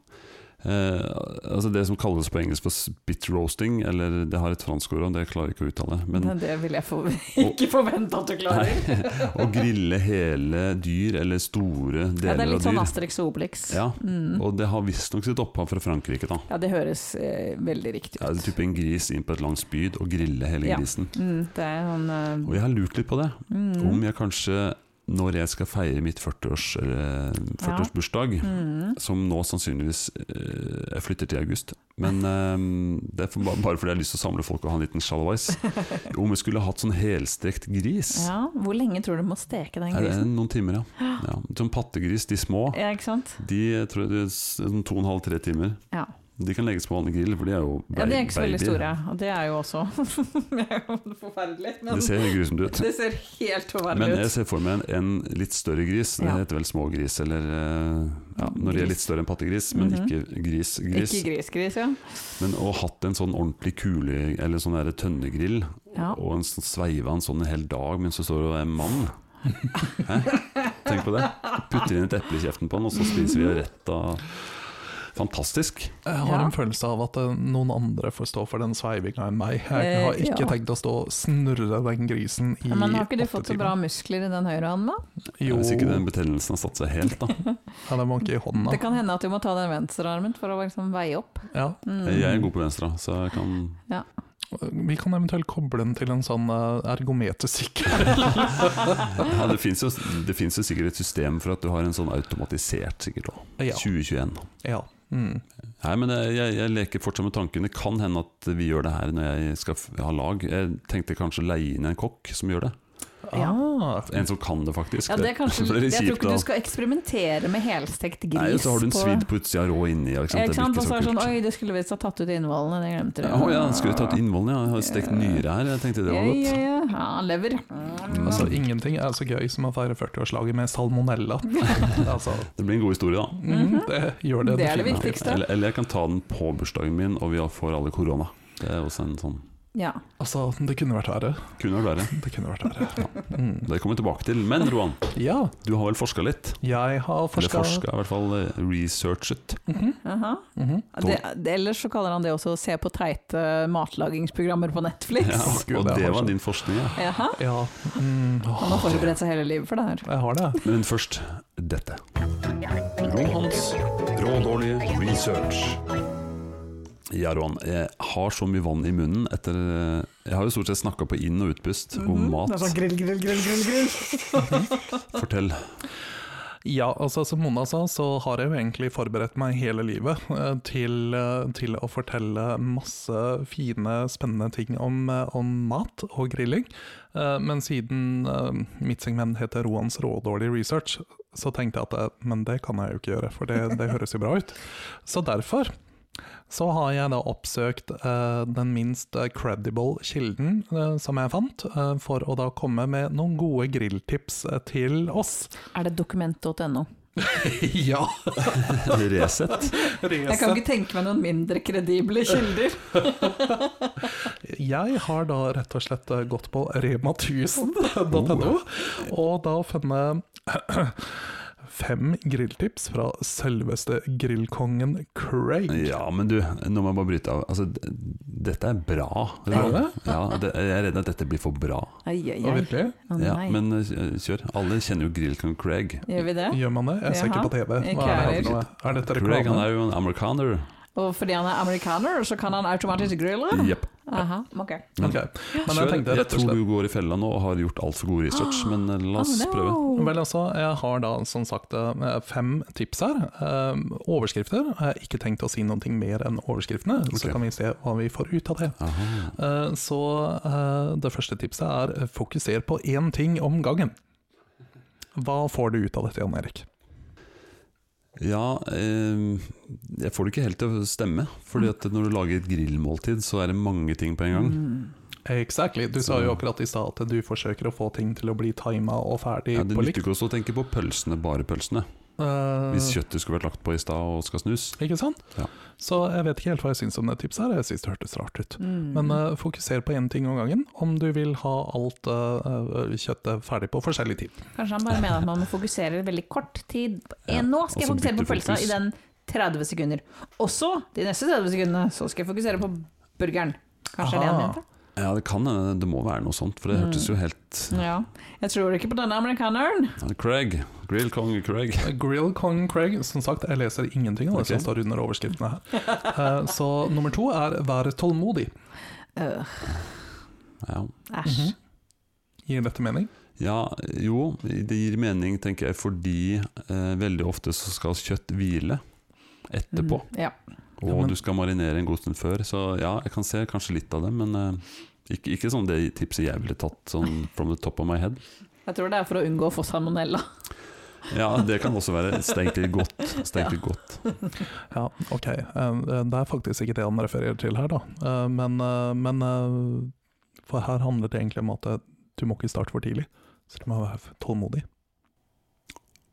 S1: Eh, altså det som kalles på engelsk for spit roasting, eller det har et fransk ord, og det klarer jeg ikke å uttale. Men
S2: Men det vil jeg for, ikke forvente at du klarer.
S1: Nei, å grille hele dyr, eller store
S2: Ja, det er
S1: deler av
S2: litt sånn
S1: dyr.
S2: Asterix og Obelix.
S1: Ja,
S2: Mm.
S1: og det har visstnok sitt opphav fra Frankrike, da.
S2: ja det høres eh, veldig riktig
S1: Ja, det er
S2: ut.
S1: typ en gris inn på et langt spyd og grille hele
S2: Ja.
S1: grisen.
S2: Mm, det er sånn eh,
S1: Og jeg har lurt litt på det. Om
S2: mm,
S1: jeg kanskje, når jeg skal feire mitt 40-års, eller 40-årsbursdag,
S2: mm.
S1: som nå sannsynligvis eh, Jeg flytter til august, men eh, det er for, ba- bare fordi jeg har lyst til å samle folk og ha en liten shallowice. Om jeg skulle hatt sånn helstekt gris
S2: ja. Hvor lenge tror du du må steke den
S1: Er det
S2: grisen?
S1: noen timer, ja. ja. Sånn pattegris, de små.
S2: Ja, ikke sant?
S1: De tror jeg det er sånn to og en halv, tre timer.
S2: Ja.
S1: De kan legges på vanlig grill, for de er jo ba-
S2: Ja, de er ikke så veldig
S1: babyer.
S2: store, og det er jo også Det er jo forferdelig, men
S1: Det ser helt grusomt ut.
S2: det ser helt
S1: Men jeg
S2: forferdelig ut.
S1: ser for meg en, en litt større gris. Det
S2: Ja.
S1: heter vel smågris, eller eh, ja, Når de er
S2: Gris.
S1: litt større enn pattegris, men
S2: Mhm.
S1: ikke gris. gris.
S2: Ikke grisgris, ja.
S1: Men å ha hatt en sånn ordentlig kule, eller sånn der tønnegrill,
S2: Ja.
S1: og en sånn sveiva en sånn en hel dag mens du står og er mann. Hæ? Tenk på det. Putter inn et eple i kjeften på den, og så spiser vi rett av Fantastisk.
S3: Jeg har
S2: Ja.
S3: en følelse av at eh, noen andre får stå for den sveivinga enn meg. Jeg
S2: Eh,
S3: har ikke
S2: ja.
S3: tenkt å stå og snurre den grisen i
S2: Men har ikke du
S3: åtte
S2: fått så
S3: timer.
S2: bra muskler i den høyre hånden, da?
S3: Jo,
S1: Hvis ikke
S3: ja,
S1: den betennelsen har satt seg helt, da.
S3: den var ikke i hånda.
S2: Det kan hende at du må ta den venstrearmen for å liksom veie opp.
S3: Ja.
S2: Mm.
S1: Jeg er god på venstre, så jeg kan
S3: Vi kan eventuelt koble den til en sånn eh, ergometersikkel.
S1: ja, Det fins jo, det finnes jo sikkert et system for at du har en sånn automatisert, sikkert òg.
S3: Ja.
S1: 2021.
S3: ja. Mm.
S1: Nei, men eh, jeg, jeg leker fortsatt med tanken. Det kan hende at vi gjør det her når jeg skal f- ha lag. Jeg tenkte kanskje å leie inn en kokk som gjør det.
S2: Ja.
S3: Ah,
S1: En som kan det, faktisk.
S2: Ja, det er kanskje,
S1: blir
S2: jeg tror
S1: kjipt,
S2: ikke
S1: da.
S2: du skal eksperimentere med helstekt gris.
S1: Nei, og så har du en
S2: på-
S1: svidd på utsida rå inni. ja, Ikke sant?
S2: Ja, Ikke sant?
S1: Det
S2: Og
S1: blir ikke
S2: så er det sånn
S1: så kult.
S2: Oi, det skulle visst ha tatt ut innvollene, det glemte du.
S1: Ja, Å ja, skulle jeg tatt innvollene? Ja. Jeg har stekt nyre her. Jeg tenkte det var
S2: Ja,
S1: godt.
S2: ja, ja. ja han lever.
S3: Altså,
S2: Mm.
S3: ingenting er så gøy som å feire 40-årslaget med salmonella. altså,
S1: Det blir en god historie, da.
S3: mm, det gjør det.
S2: Mhm. Det er det
S3: definitivt.
S2: viktigste.
S1: Eller, eller jeg kan ta den på bursdagen min, og vi får alle korona. Det er også en sånn
S2: Ja.
S3: Altså, det kunne vært verre.
S1: Kunne vært verre.
S3: Det kunne vært verre. Mm.
S1: Det kommer vi tilbake til. Men Roan,
S3: Ja,
S1: du har vel forska litt?
S3: jeg har
S1: Eller
S3: forska
S1: forska, i hvert fall eh, researchet.
S2: aha.
S3: Mhm.
S2: Det, det, ellers så kaller han det også å se på teite matlagingsprogrammer på Netflix.
S1: Ja,
S3: Gud,
S1: og
S3: det er
S1: det var
S3: morsomt.
S1: din forskning, ja.
S2: Jaha.
S3: Ja. Mm,
S2: Han har
S3: åh,
S2: forberedt seg hele livet for det her.
S3: jeg har det.
S1: Men først dette. Rohans rådårlige research. Ja, Rohan. Jeg har så mye vann i munnen etter eh, Jeg har jo stort sett snakka på inn- og utpust
S3: Mhm,
S1: om mat.
S3: sånn
S2: grill, grill, grill, grill, grill.
S1: Fortell.
S3: Ja, altså som Mona sa, så har jeg jo egentlig forberedt meg hele livet eh, til, eh, til å fortelle masse fine, spennende ting om, eh, om mat og grilling. Eh, Men siden eh, mitt segment heter Roans rådårlig research, så tenkte jeg at eh, men det kan jeg jo ikke gjøre, for det, det høres jo bra ut. Så derfor så har jeg da oppsøkt eh, den minst eh, credible kilden eh, som jeg fant, eh, for å da komme med noen gode grilltips eh, til oss.
S2: Er det dokument.no?
S3: ja!
S1: Resett.
S2: Jeg kan ikke tenke meg noen mindre kredible kilder.
S3: Jeg har da rett og slett eh, gått på rema1000.no og da funnet fem grilltips fra selveste grillkongen Craig.
S1: Ja, men du, nå må jeg bare bryte av. Altså, d- dette er bra.
S3: Er det?
S1: Ja, det, jeg er redd at dette blir for bra.
S2: Ai, ai,
S3: Og
S2: ai.
S3: virkelig,
S2: Å,
S1: Ja,
S2: nei.
S1: men eh, kjør. Alle kjenner jo Grillkong Craig.
S2: Gjør vi det?
S3: gjør man det? Jeg ser
S2: Jaha,
S3: ikke på TV.
S2: ikke
S3: Hva er, det
S1: heller.
S3: for noe? er dette
S1: Craig han
S3: reklame?
S1: er jo en amerikaner.
S2: Og fordi han er amerikaner, så kan han automatisk grille?
S1: Jepp.
S2: Aha, ok.
S3: Ok, Men jeg
S1: Kjør.
S3: tenkte
S1: jeg
S3: rett og
S1: tror
S3: slett
S1: du går i fella nå og har gjort altfor god research, men eh, la oss
S2: Oh, no.
S1: prøve.
S3: Vel, altså, jeg har da som sagt eh, fem tips her. Eh, Overskrifter. Jeg har ikke tenkt å si noe mer enn overskriftene,
S1: Ok.
S3: så kan vi se hva vi får ut av det.
S1: Aha.
S3: Eh, Så eh, det første tipset er eh, fokuser på én ting om gangen. Hva får du ut av dette, Jan Erik?
S1: Ja, eh, jeg får det ikke helt til å stemme. Fordi at når du lager et grillmåltid, så er det mange ting på en gang.
S2: Mm.
S3: Exactly. Du sa jo akkurat i stad at du forsøker å få ting til å bli tima og ferdig
S1: Ja, det
S3: på
S1: nytter
S3: likt.
S1: ikke også å tenke på pølsene, bare pølsene.
S3: Eh,
S1: Hvis kjøttet skulle vært lagt på i stad og skal snus.
S3: Ikke sant?
S1: Ja.
S3: Så jeg vet ikke helt hva jeg syns om det tipset her, jeg syns det hørtes rart ut.
S2: Mm.
S3: Men eh, fokuser på én ting om gangen, om du vil ha alt eh, kjøttet ferdig på forskjellig tid.
S2: Kanskje han bare mener at man må fokusere veldig kort tid.
S1: Ja,
S2: Nå skal jeg
S1: og så
S2: fokusere på
S1: bytte
S2: pølsa
S1: fokus.
S2: i den 30 sekunder. Også de neste 30 sekundene så skal jeg fokusere på burgeren. Kanskje det er det han
S3: Aha.
S2: mente?
S1: Ja, det kan hende det må være noe sånt, for det
S2: Mm.
S1: hørtes jo helt
S2: Ja. Jeg tror ikke på denne amerikaneren.
S1: Craig. Grill Kong Craig.
S3: Grill Kong Craig, som sagt, jeg leser ingenting av det som
S1: Ok.
S3: står under overskriftene her. Eh, så nummer to er vær tålmodig.
S2: Øh,
S1: Ja.
S2: Æsj.
S3: Mhm. Gir dette mening?
S1: ja, jo, det gir mening, tenker jeg, fordi eh, veldig ofte så skal kjøtt hvile etterpå.
S2: Mm, Ja.
S1: Og
S3: Ja, men-
S1: du skal marinere en god stund før, så ja, jeg kan se kanskje litt av det, men eh, ikke, ikke sånn det tipset jeg ville tatt sånn from the top of my head.
S2: Jeg tror det er for å unngå å få salmonella.
S1: Ja, det kan også være stengt litt godt. Stengt litt godt.
S3: Ja, ok. Eh, det er faktisk ikke det han refererer til her, da. Eh, men eh, men eh, for her handler det egentlig om at eh, du må ikke starte for tidlig. Så du må være tålmodig.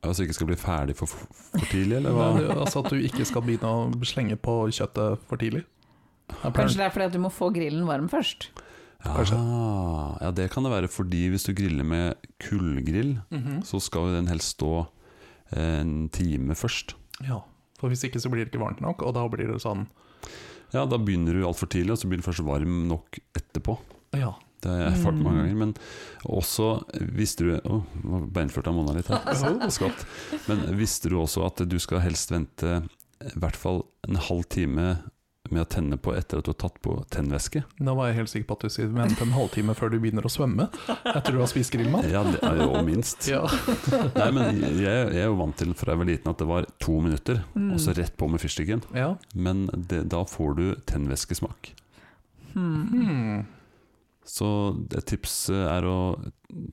S1: Altså ikke skal bli ferdig for, for tidlig, eller hva?
S3: Nei, altså At du ikke skal begynne å slenge på kjøttet for tidlig. Jeg
S2: Kanskje
S3: pleier-
S2: det er fordi at du må få grillen varm først.
S3: kanskje.
S1: Ah, ja, det kan det være fordi hvis du griller med kullgrill,
S3: Mhm.
S1: så skal jo den helst stå eh, en time først.
S3: Ja, for hvis ikke så blir det ikke varmt nok, og da blir det sånn
S1: Ja, da begynner du altfor tidlig, og så blir den først varm nok etterpå.
S3: Ja.
S1: Det har jeg erfart mange
S2: Mm.
S1: ganger. Men også eh, visste du Å, nå beinførte jeg Mona litt
S3: Altså,
S1: her. Skatt. Men visste du også at du skal helst vente eh, i hvert fall en halv time med å tenne på etter at du har tatt på tennvæske?
S3: Da var jeg helt sikker på at du sier vent en halvtime før du begynner å svømme etter du har spist grillmat.
S1: Ja, det er jo minst.
S3: Ja.
S1: Nei, men jeg, jeg er jo vant til fra jeg var liten at det var to minutter,
S2: Mm.
S1: og så rett på med fyrstikken.
S3: ja.
S1: Men det, da får du tennvæskesmak. Mm.
S2: Hmm.
S3: Hmm.
S1: Så et tips eh, er å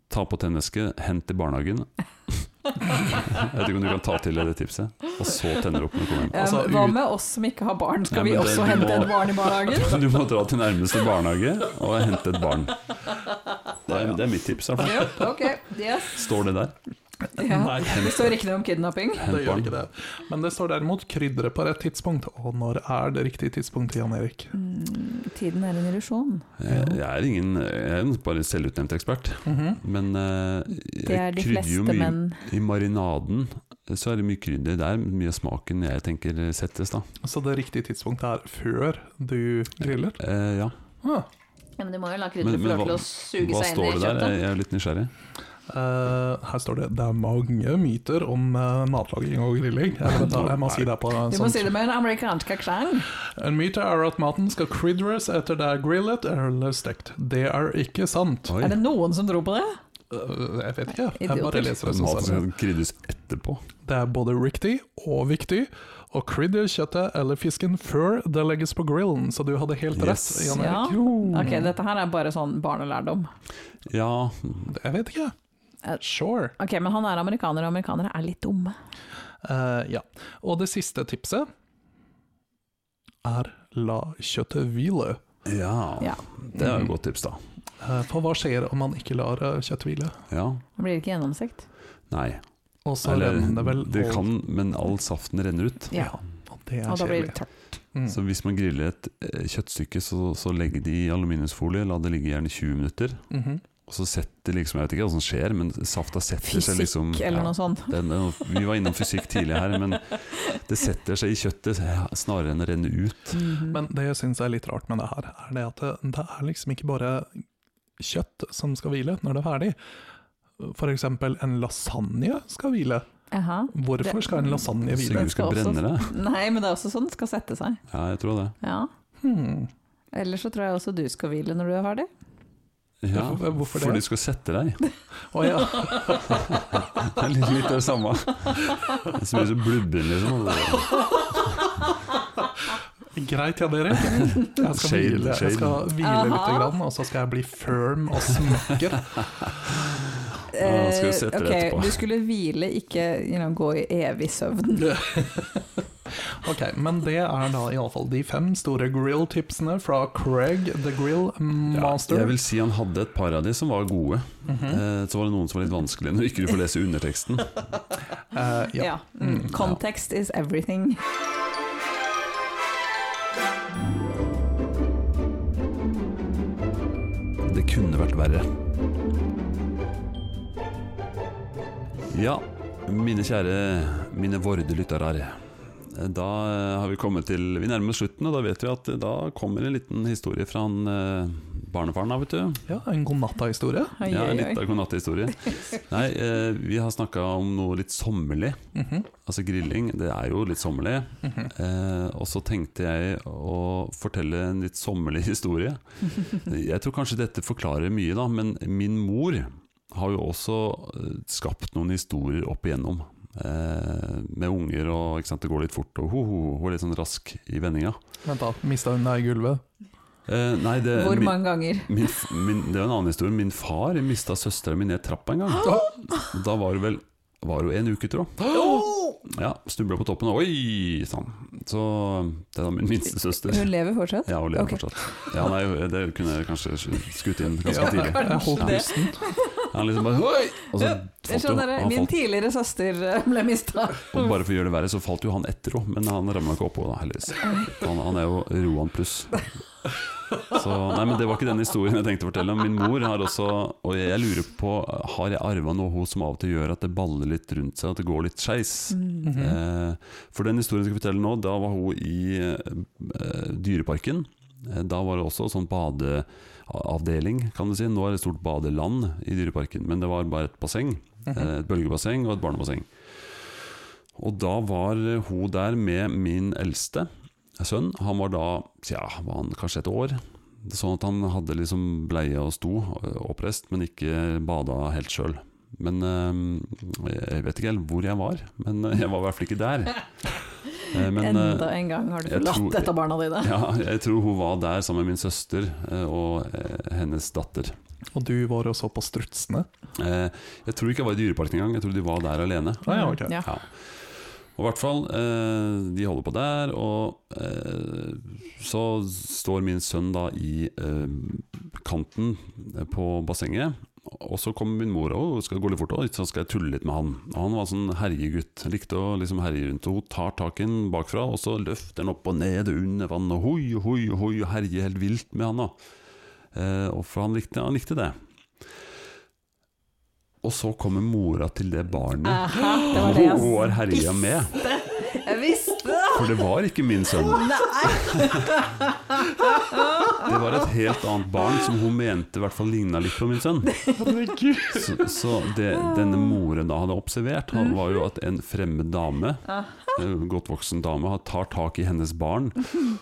S1: ta på tennvæske, hent i barnehagen. jeg vet ikke om du kan ta til deg det tipset, og så tenner du opp når du kommer hjem.
S2: Eh,
S3: Altså,
S2: Hva
S3: ut-
S2: med oss som ikke har barn? Skal
S1: Ja,
S2: vi
S1: men det-
S2: også
S1: du
S2: hente
S1: må-
S2: et barn i barnehagen?
S1: Du må dra til nærmeste barnehage og hente et barn. Det er, det er mitt tips. i hvert fall.
S2: Ja, ok, yes.
S1: Står det der?
S2: Ja. Det
S1: Hent,
S2: står ikke noe om kidnapping.
S3: Det
S1: hent
S3: gjør
S1: barn.
S3: ikke det. Men det står derimot 'krydre på rett tidspunkt'. Og når er det riktige tidspunktet, Jan Erik?
S2: Mm, Tiden er en illusjon.
S1: Jeg jeg er ingen jeg er bare selvutnevnt ekspert,
S3: Mhm.
S1: men eh,
S2: Det er
S1: jeg
S2: de
S1: krydder jo
S2: fleste
S1: mye.
S2: menn.
S1: I marinaden så er det mye krydder der, mye av smaken jeg tenker settes da.
S3: Så det riktige tidspunktet er før du griller?
S1: Eh, ja.
S3: Ah.
S2: Ja, men du må jo la
S1: Men-
S2: krydderet få
S1: men
S2: lov til
S1: hva-
S2: å suge
S1: Hva
S2: seg inn i
S1: står det der?
S2: kjøttet.
S1: Jeg er litt nysgjerrig.
S3: Eh, her står det det er mange myter om eh, matlaging og grilling. Jeg, vet, da, jeg må si det på en
S2: Du må
S3: sånn
S2: si det med en amerikansk aksent.
S3: En myte er at maten skal krydres etter det er grillet eller stekt. Det er ikke sant.
S1: Oi.
S2: Er det noen som tror på det?
S3: Eh, jeg vet ikke, jeg
S2: Idioter.
S3: bare leser det som
S2: sånn
S1: Maten
S3: står.
S1: skal krydres etterpå.
S3: Det er både riktig og viktig å krydre kjøttet eller fisken før det legges på grillen, så du hadde helt rett.
S1: Yes.
S3: Jan
S2: Ja.
S3: Erik. Jo.
S2: Ok, dette her er bare sånn barnelærdom.
S1: Ja,
S3: Jeg vet ikke.
S2: Eh.
S3: Sure.
S2: Ok, men han er amerikaner, og amerikanere er litt dumme.
S3: Eh, ja. Og det siste tipset er la kjøttet hvile. Mm.
S1: ja.
S2: Ja.
S1: Det er jo et godt tips, da.
S3: Eh, For hva skjer om man ikke lar eh, kjøttet hvile?
S1: Ja.
S2: Han blir ikke gjennomsikt.
S1: Nei.
S3: Og så
S1: Eller,
S3: renner det vel
S1: det
S3: og-
S1: kan, men all saften renner ut.
S2: Ja,
S3: og det er
S2: og da blir
S3: kjedelig.
S2: det tørt.
S3: Mm.
S1: Så hvis man griller et eh, kjøttstykke, så, så legger de i aluminiumsfolie, la det ligge gjerne 20 minutter.
S3: Mhm.
S1: Og så setter liksom, jeg vet ikke hva som skjer, men safta setter seg
S2: Fysikk
S1: liksom
S2: eller
S1: ja.
S2: noe sånt.
S1: Den, den- vi var innom fysikk tidlig her, men det setter seg i kjøttet ja, snarere enn å renne ut.
S2: Mhm.
S3: Men det jeg syns er litt rart med det her, er det at det, det er liksom ikke bare kjøtt som skal hvile når det er ferdig. For eksempel en lasagne skal hvile.
S2: Jaha.
S3: Hvorfor
S2: Det-
S3: skal en lasagne
S1: Sikkert
S3: videre?
S1: du skal
S2: Den skal
S1: brenne deg.
S2: Nei, men det er også sånn det skal sette seg.
S1: Ja, jeg tror det.
S2: Ja.
S3: Hmm.
S2: Ellers så tror jeg også du skal hvile når du er ferdig.
S1: Ja,
S3: Hvorfor- hvorfor det?
S1: For du skal sette deg.
S3: Å ja.
S1: Det er litt, litt det samme. Det er så mye så blubben, liksom.
S3: Greit, ja, dere. Jeg skal
S1: Shade,
S3: hvile,
S1: shade.
S3: jeg skal hvile litt,
S2: Aha.
S3: grann, og så skal jeg bli firm og smakker.
S1: Ja, skal vi sette det
S2: Eh, ok,
S1: etterpå?
S2: Du skulle hvile, ikke you know, gå i evig søvn.
S3: Ok, men det er da iallfall de fem store grill-tipsene fra Craig the Grill
S1: Ja,
S3: Master.
S1: jeg vil si han hadde et par av de som var gode.
S3: Mhm.
S1: Eh, Så var det noen som var litt vanskelige når ikke du får lese underteksten.
S3: Eh, ja.
S2: Ja. Mm.
S3: Mm,
S2: Context is everything.
S1: Det kunne vært verre. Ja, mine kjære, mine vorde lyttere. Da eh, har vi kommet til Vi nærmer oss slutten, og da vet vi at eh, da kommer en liten historie fra han eh, barnefaren, da, vet du.
S3: ja, en godnatta-historie.
S2: Oi,
S1: Ja, en
S2: oi,
S1: litt
S2: oi.
S1: agonattehistorie. Nei, eh, vi har snakka om noe litt sommerlig.
S3: Mhm,
S1: Altså grilling, det er jo litt sommerlig.
S3: mhm.
S1: Eh, og så tenkte jeg å fortelle en litt sommerlig historie. Jeg tror kanskje dette forklarer mye, da, men min mor har jo også eh, skapt noen historier opp igjennom. Eh, med unger og ikke sant, det går litt fort, og ho, ho, ho, hun er litt sånn rask i vendinga.
S3: Vent, da. Mista hun deg i gulvet?
S1: Eh, nei, det,
S2: Hvor
S1: min,
S2: mange ganger?
S1: min, f- min, det er en annen historie. Min far mista søstera mi ned trappa en gang. Da var hun vel var hun en uke, tror jeg. Ja, Snubla på toppen, og oi sann. Så det er da min minste søster.
S2: Hun lever fortsatt?
S1: Ja, hun lever
S2: Ok.
S1: fortsatt. Ja, nei, det kunne jeg kanskje skutt inn ganske
S3: Ja,
S1: tidlig.
S3: jeg holdt
S1: Ja.
S3: pusten.
S1: Han liksom bare Oi! Og så
S2: Jeg
S1: falt jo,
S2: skjønner det.
S1: han
S2: Min
S1: falt,
S2: tidligere søster eh, ble mista.
S1: og bare for å gjøre det verre, så falt jo han etter òg, men han ramla ikke oppå, da, heldigvis. Han, han er jo Roan pluss. Så, nei, men Det var ikke den historien jeg tenkte å fortelle. om. Min mor har også Og jeg lurer på Har jeg arva noe hos som av og til gjør at det baller litt rundt seg, at det går litt skeis?
S2: Mm.
S3: Mhm.
S1: Eh, for den historien jeg skal fortelle nå, da var hun i eh, dyreparken. Eh, Da var det også sånn badeavdeling, kan du si. Nå er det et stort badeland i dyreparken, men det var bare et basseng. eh, Et bølgebasseng og et barnebasseng. Og da var hun der med min eldste sønn. Han var da tja, var han kanskje et år. Sånn at han hadde liksom bleie og sto eh, oppreist, men ikke bada helt sjøl. Men eh, jeg vet ikke helt hvor jeg var, men eh, jeg var i hvert fall ikke der. Eh, men, eh,
S2: Enda en gang har du
S1: jeg
S2: forlatt
S1: tror-
S2: et av barna dine.
S1: ja, jeg tror hun var der sammen med min søster eh, og eh, hennes datter.
S3: Og du var også på strutsene.
S1: Eh, Jeg tror ikke jeg var i dyreparken engang, jeg tror de var der alene.
S3: Ah, ja, ok.
S2: Ja.
S1: Ja. Og i hvert fall, eh, de holder på der, og eh, så står min sønn da i eh, kanten eh, på bassenget. Og så kommer min mor og skal gå litt fort, og så skal jeg tulle litt med han. Og han var en sånn herjegutt, likte å liksom herje rundt. Og hun tar tak i han bakfra, og så løfter han opp og ned og under vann, og hoi, hoi, hoi, og herjer helt vilt med han. da. Eh, og for han likte, han likte det. Og så kommer mora til det barnet.
S2: Aha, Ah,
S1: Hun
S2: det var det jeg
S1: var herja med,
S2: Jeg visste det!
S1: for det var ikke min sønn.
S2: Nei.
S1: Det var et helt annet barn som hun mente i hvert fall ligna litt på min sønn. Så, så det denne moren da hadde observert, han var jo at en fremmed dame, en godt voksen dame, har- tar tak i hennes barn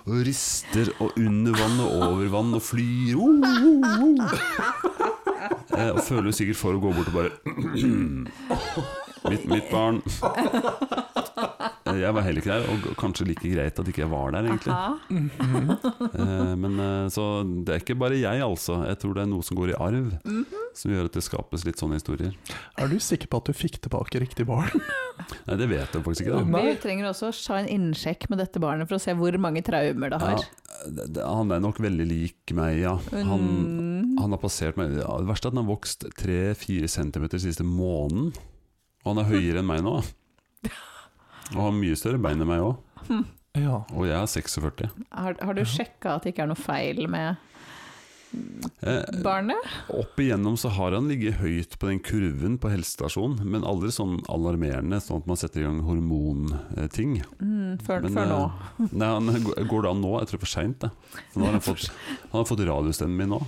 S1: og rister og under vann og over vann og flyr. Oh, oh, oh. Eh, Og føler jo sikkert for å gå bort og bare Mitt, mitt barn. Eh, Jeg var heller ikke der, og kanskje like greit at ikke jeg var der, egentlig.
S2: Aha.
S1: Eh, Men eh, så det er ikke bare jeg, altså. Jeg tror det er noe som går i arv, som gjør at det skapes litt sånne historier.
S3: Er du sikker på at du fikk tilbake riktig barn?
S1: Nei, det vet jeg faktisk ikke. da
S3: Nei.
S2: Vi trenger også å ta en innsjekk med dette barnet for å se hvor mange traumer det
S1: ja,
S2: har.
S1: det- det- Han er nok veldig lik meg, ja. Han,
S2: Mm.
S1: han har passert meg ja, Det verste er at han har vokst 3-4 cm siste måneden. Og han er høyere enn meg nå. Og har mye større bein enn meg òg.
S3: Ja.
S1: Og jeg er 46.
S2: Har, har du sjekka at det ikke er noe feil med
S1: Eh,
S2: barnet?
S1: Opp igjennom så har han ligget høyt på den kurven på helsestasjonen, men aldri sånn alarmerende, sånn at man setter i gang hormonting.
S2: Mm, før,
S1: Men,
S2: før nå.
S1: eh, Nei, han går- går da nå. Jeg tror det er for seint, det. For nå har han fått, han har fått radiostemmen min nå.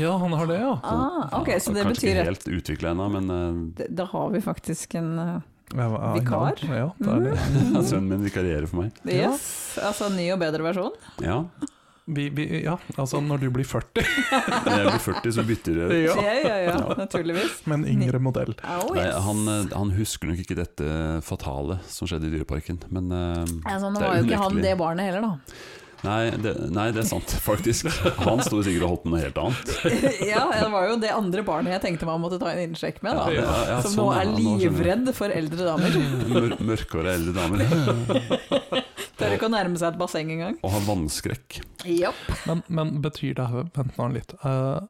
S3: ja, han har det, ja.
S2: Ah, ok, så det
S1: Kanskje
S2: betyr
S1: ikke
S2: at
S1: helt utvikla ennå, men eh,
S2: d- da har vi faktisk en eh,
S3: Jeg var-
S2: Vikar?
S3: Ja, det er det.
S1: eh, Sønnen min vikarierer for meg.
S2: Yes, altså ny og bedre versjon.
S1: Ja,
S3: Vi, vi, ja, altså når du blir 40,
S1: Når jeg blir 40, så bytter jeg.
S3: Ja.
S2: Ja, ja, ja, naturligvis.
S3: med en yngre modell.
S2: Au,
S1: Nei,
S2: yes.
S1: han, eh, han husker nok ikke dette fatale som skjedde i Dyreparken, men eh,
S2: Altså, nå
S1: det er
S2: var jo ikke han
S1: unektelig.
S2: det barnet heller, da.
S1: nei, det, nei, det er sant, faktisk. Han sto sikkert og holdt på noe helt annet.
S2: ja, det var jo det andre barnet jeg tenkte man måtte ta en innsjekk med, da.
S1: Ja, ja, ja,
S2: Som
S1: sånn,
S2: nå
S1: ja,
S2: er
S1: skjønner jeg.
S2: livredd for eldre damer.
S1: Mør Mørkhåra eldre damer.
S2: Tør ikke å nærme seg et basseng engang.
S1: Og har vannskrekk.
S2: Japp.
S3: Men, men betyr det her Vent nå litt. eh,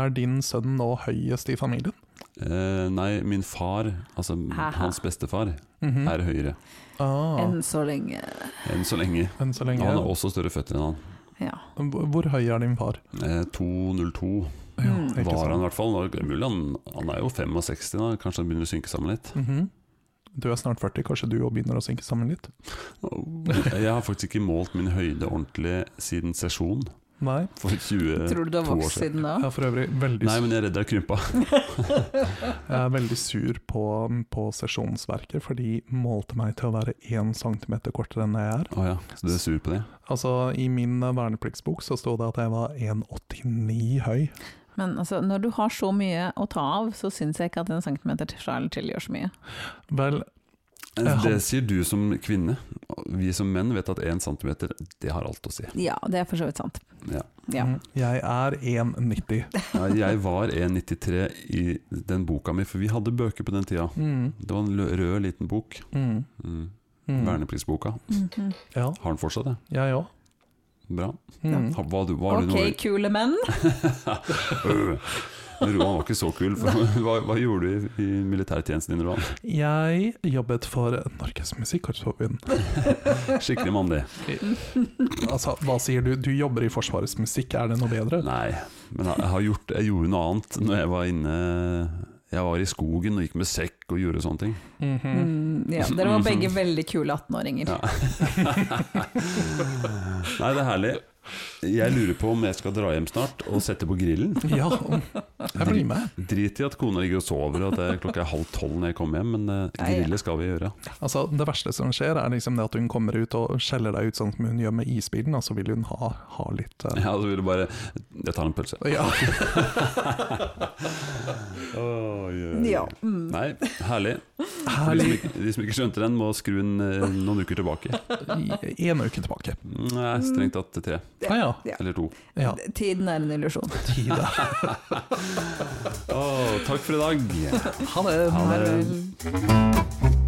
S3: er din sønn nå høyest i familien?
S1: Eh, nei, min far, altså
S2: Haha.
S1: hans bestefar,
S3: Mhm.
S1: er høyere
S3: ah,
S2: Enn så lenge.
S1: enn så lenge.
S3: enn så lenge.
S1: Han har også større føtter enn han.
S2: Ja.
S3: Hvor hvor høy er din far?
S1: Eh, 2,02
S3: Hmm.
S2: Mm.
S3: ikke
S1: var
S3: sant.
S1: han i hvert fall. Nå er det Mulig han, han er jo 65 da, kanskje han begynner å synke sammen litt.
S3: Mhm. Du er snart 40, kanskje du òg begynner å synke sammen litt?
S1: Jeg har faktisk ikke målt min høyde ordentlig siden sesjon
S3: Nei.
S1: for 20
S2: Tror du du har
S1: Eh, To år
S2: vokst siden da?
S3: Jeg er for øvrig veldig,
S1: Nei, men jeg er redd jeg har krympa.
S3: jeg er veldig sur på, på sesjonsverket, for de målte meg til å være én centimeter kortere enn jeg er.
S1: Å ja, så du er sur på det?
S3: Altså, I min eh, vernepliktsbok så sto det at jeg var 1,89 høy.
S2: Men altså, når du har så mye å ta av, så syns jeg ikke at en centimeter til fra eller til gjør så mye.
S3: Vel, Eh,
S1: Det
S3: han-
S1: sier du som kvinne. Vi som menn vet at 1 cm, det har alt å si.
S2: Ja, det er for så vidt sant.
S1: Ja.
S2: Ja.
S3: mm, jeg er 1,90.
S1: Ja, Jeg var 1,93 i den boka mi, for vi hadde bøker på den tida.
S3: Mm,
S1: Det var en lø- rød, liten bok.
S3: mm,
S1: Mm.
S3: mm.
S1: Vernepliktsboka.
S2: Mhm.
S3: Ja,
S1: Har den fortsatt, det?
S3: jeg òg.
S1: Bra.
S3: Mm.
S1: Ha- Var du, var du
S2: Ok,
S1: noe
S2: kule menn.
S1: Øh. Men Roan var ikke så kul. For hva, hva gjorde du i, i militærtjenesten din, Roan?
S3: Jeg jobbet for Norges Musikkartforbund.
S1: Skikkelig mandig.
S3: Altså, hva sier du? Du jobber i Forsvarets musikk, er det noe bedre?
S1: Nei, men jeg, jeg, har gjort, jeg gjorde noe annet når jeg var inne Jeg var i skogen og gikk med sekk og gjorde sånne ting.
S3: Mhm.
S2: Mm, ja, dere var begge veldig kule 18-åringer.
S1: Ja. Nei, det er herlig. Jeg lurer på om jeg skal dra hjem snart og sette på grillen.
S3: Ja, jeg blir med.
S1: Drit i at kona ligger og sover og at det er klokka er halv tolv når jeg kommer hjem, men eh,
S2: Nei, ja.
S1: grille skal vi gjøre.
S3: Altså, det verste som skjer, er liksom det at hun kommer ut og skjeller deg ut sånn som hun gjør med isbilen, og så vil hun ha, ha litt eh,
S1: Ja, så vil du bare Jeg tar en pølse.
S3: ja.
S1: eh,
S2: Ja. Mm.
S1: Nei, herlig. For De som,
S3: Herlig.
S1: ikke, de som ikke skjønte den, må skru den eh, noen uker tilbake.
S3: En uke tilbake.
S1: Nei, strengt tatt tre.
S3: Ah, ja.
S1: Eller to.
S3: ja.
S2: Tiden er en illusjon.
S3: Tida.
S1: Å, takk for i dag.
S3: Ha det.
S1: Ha det.
S2: Farvel.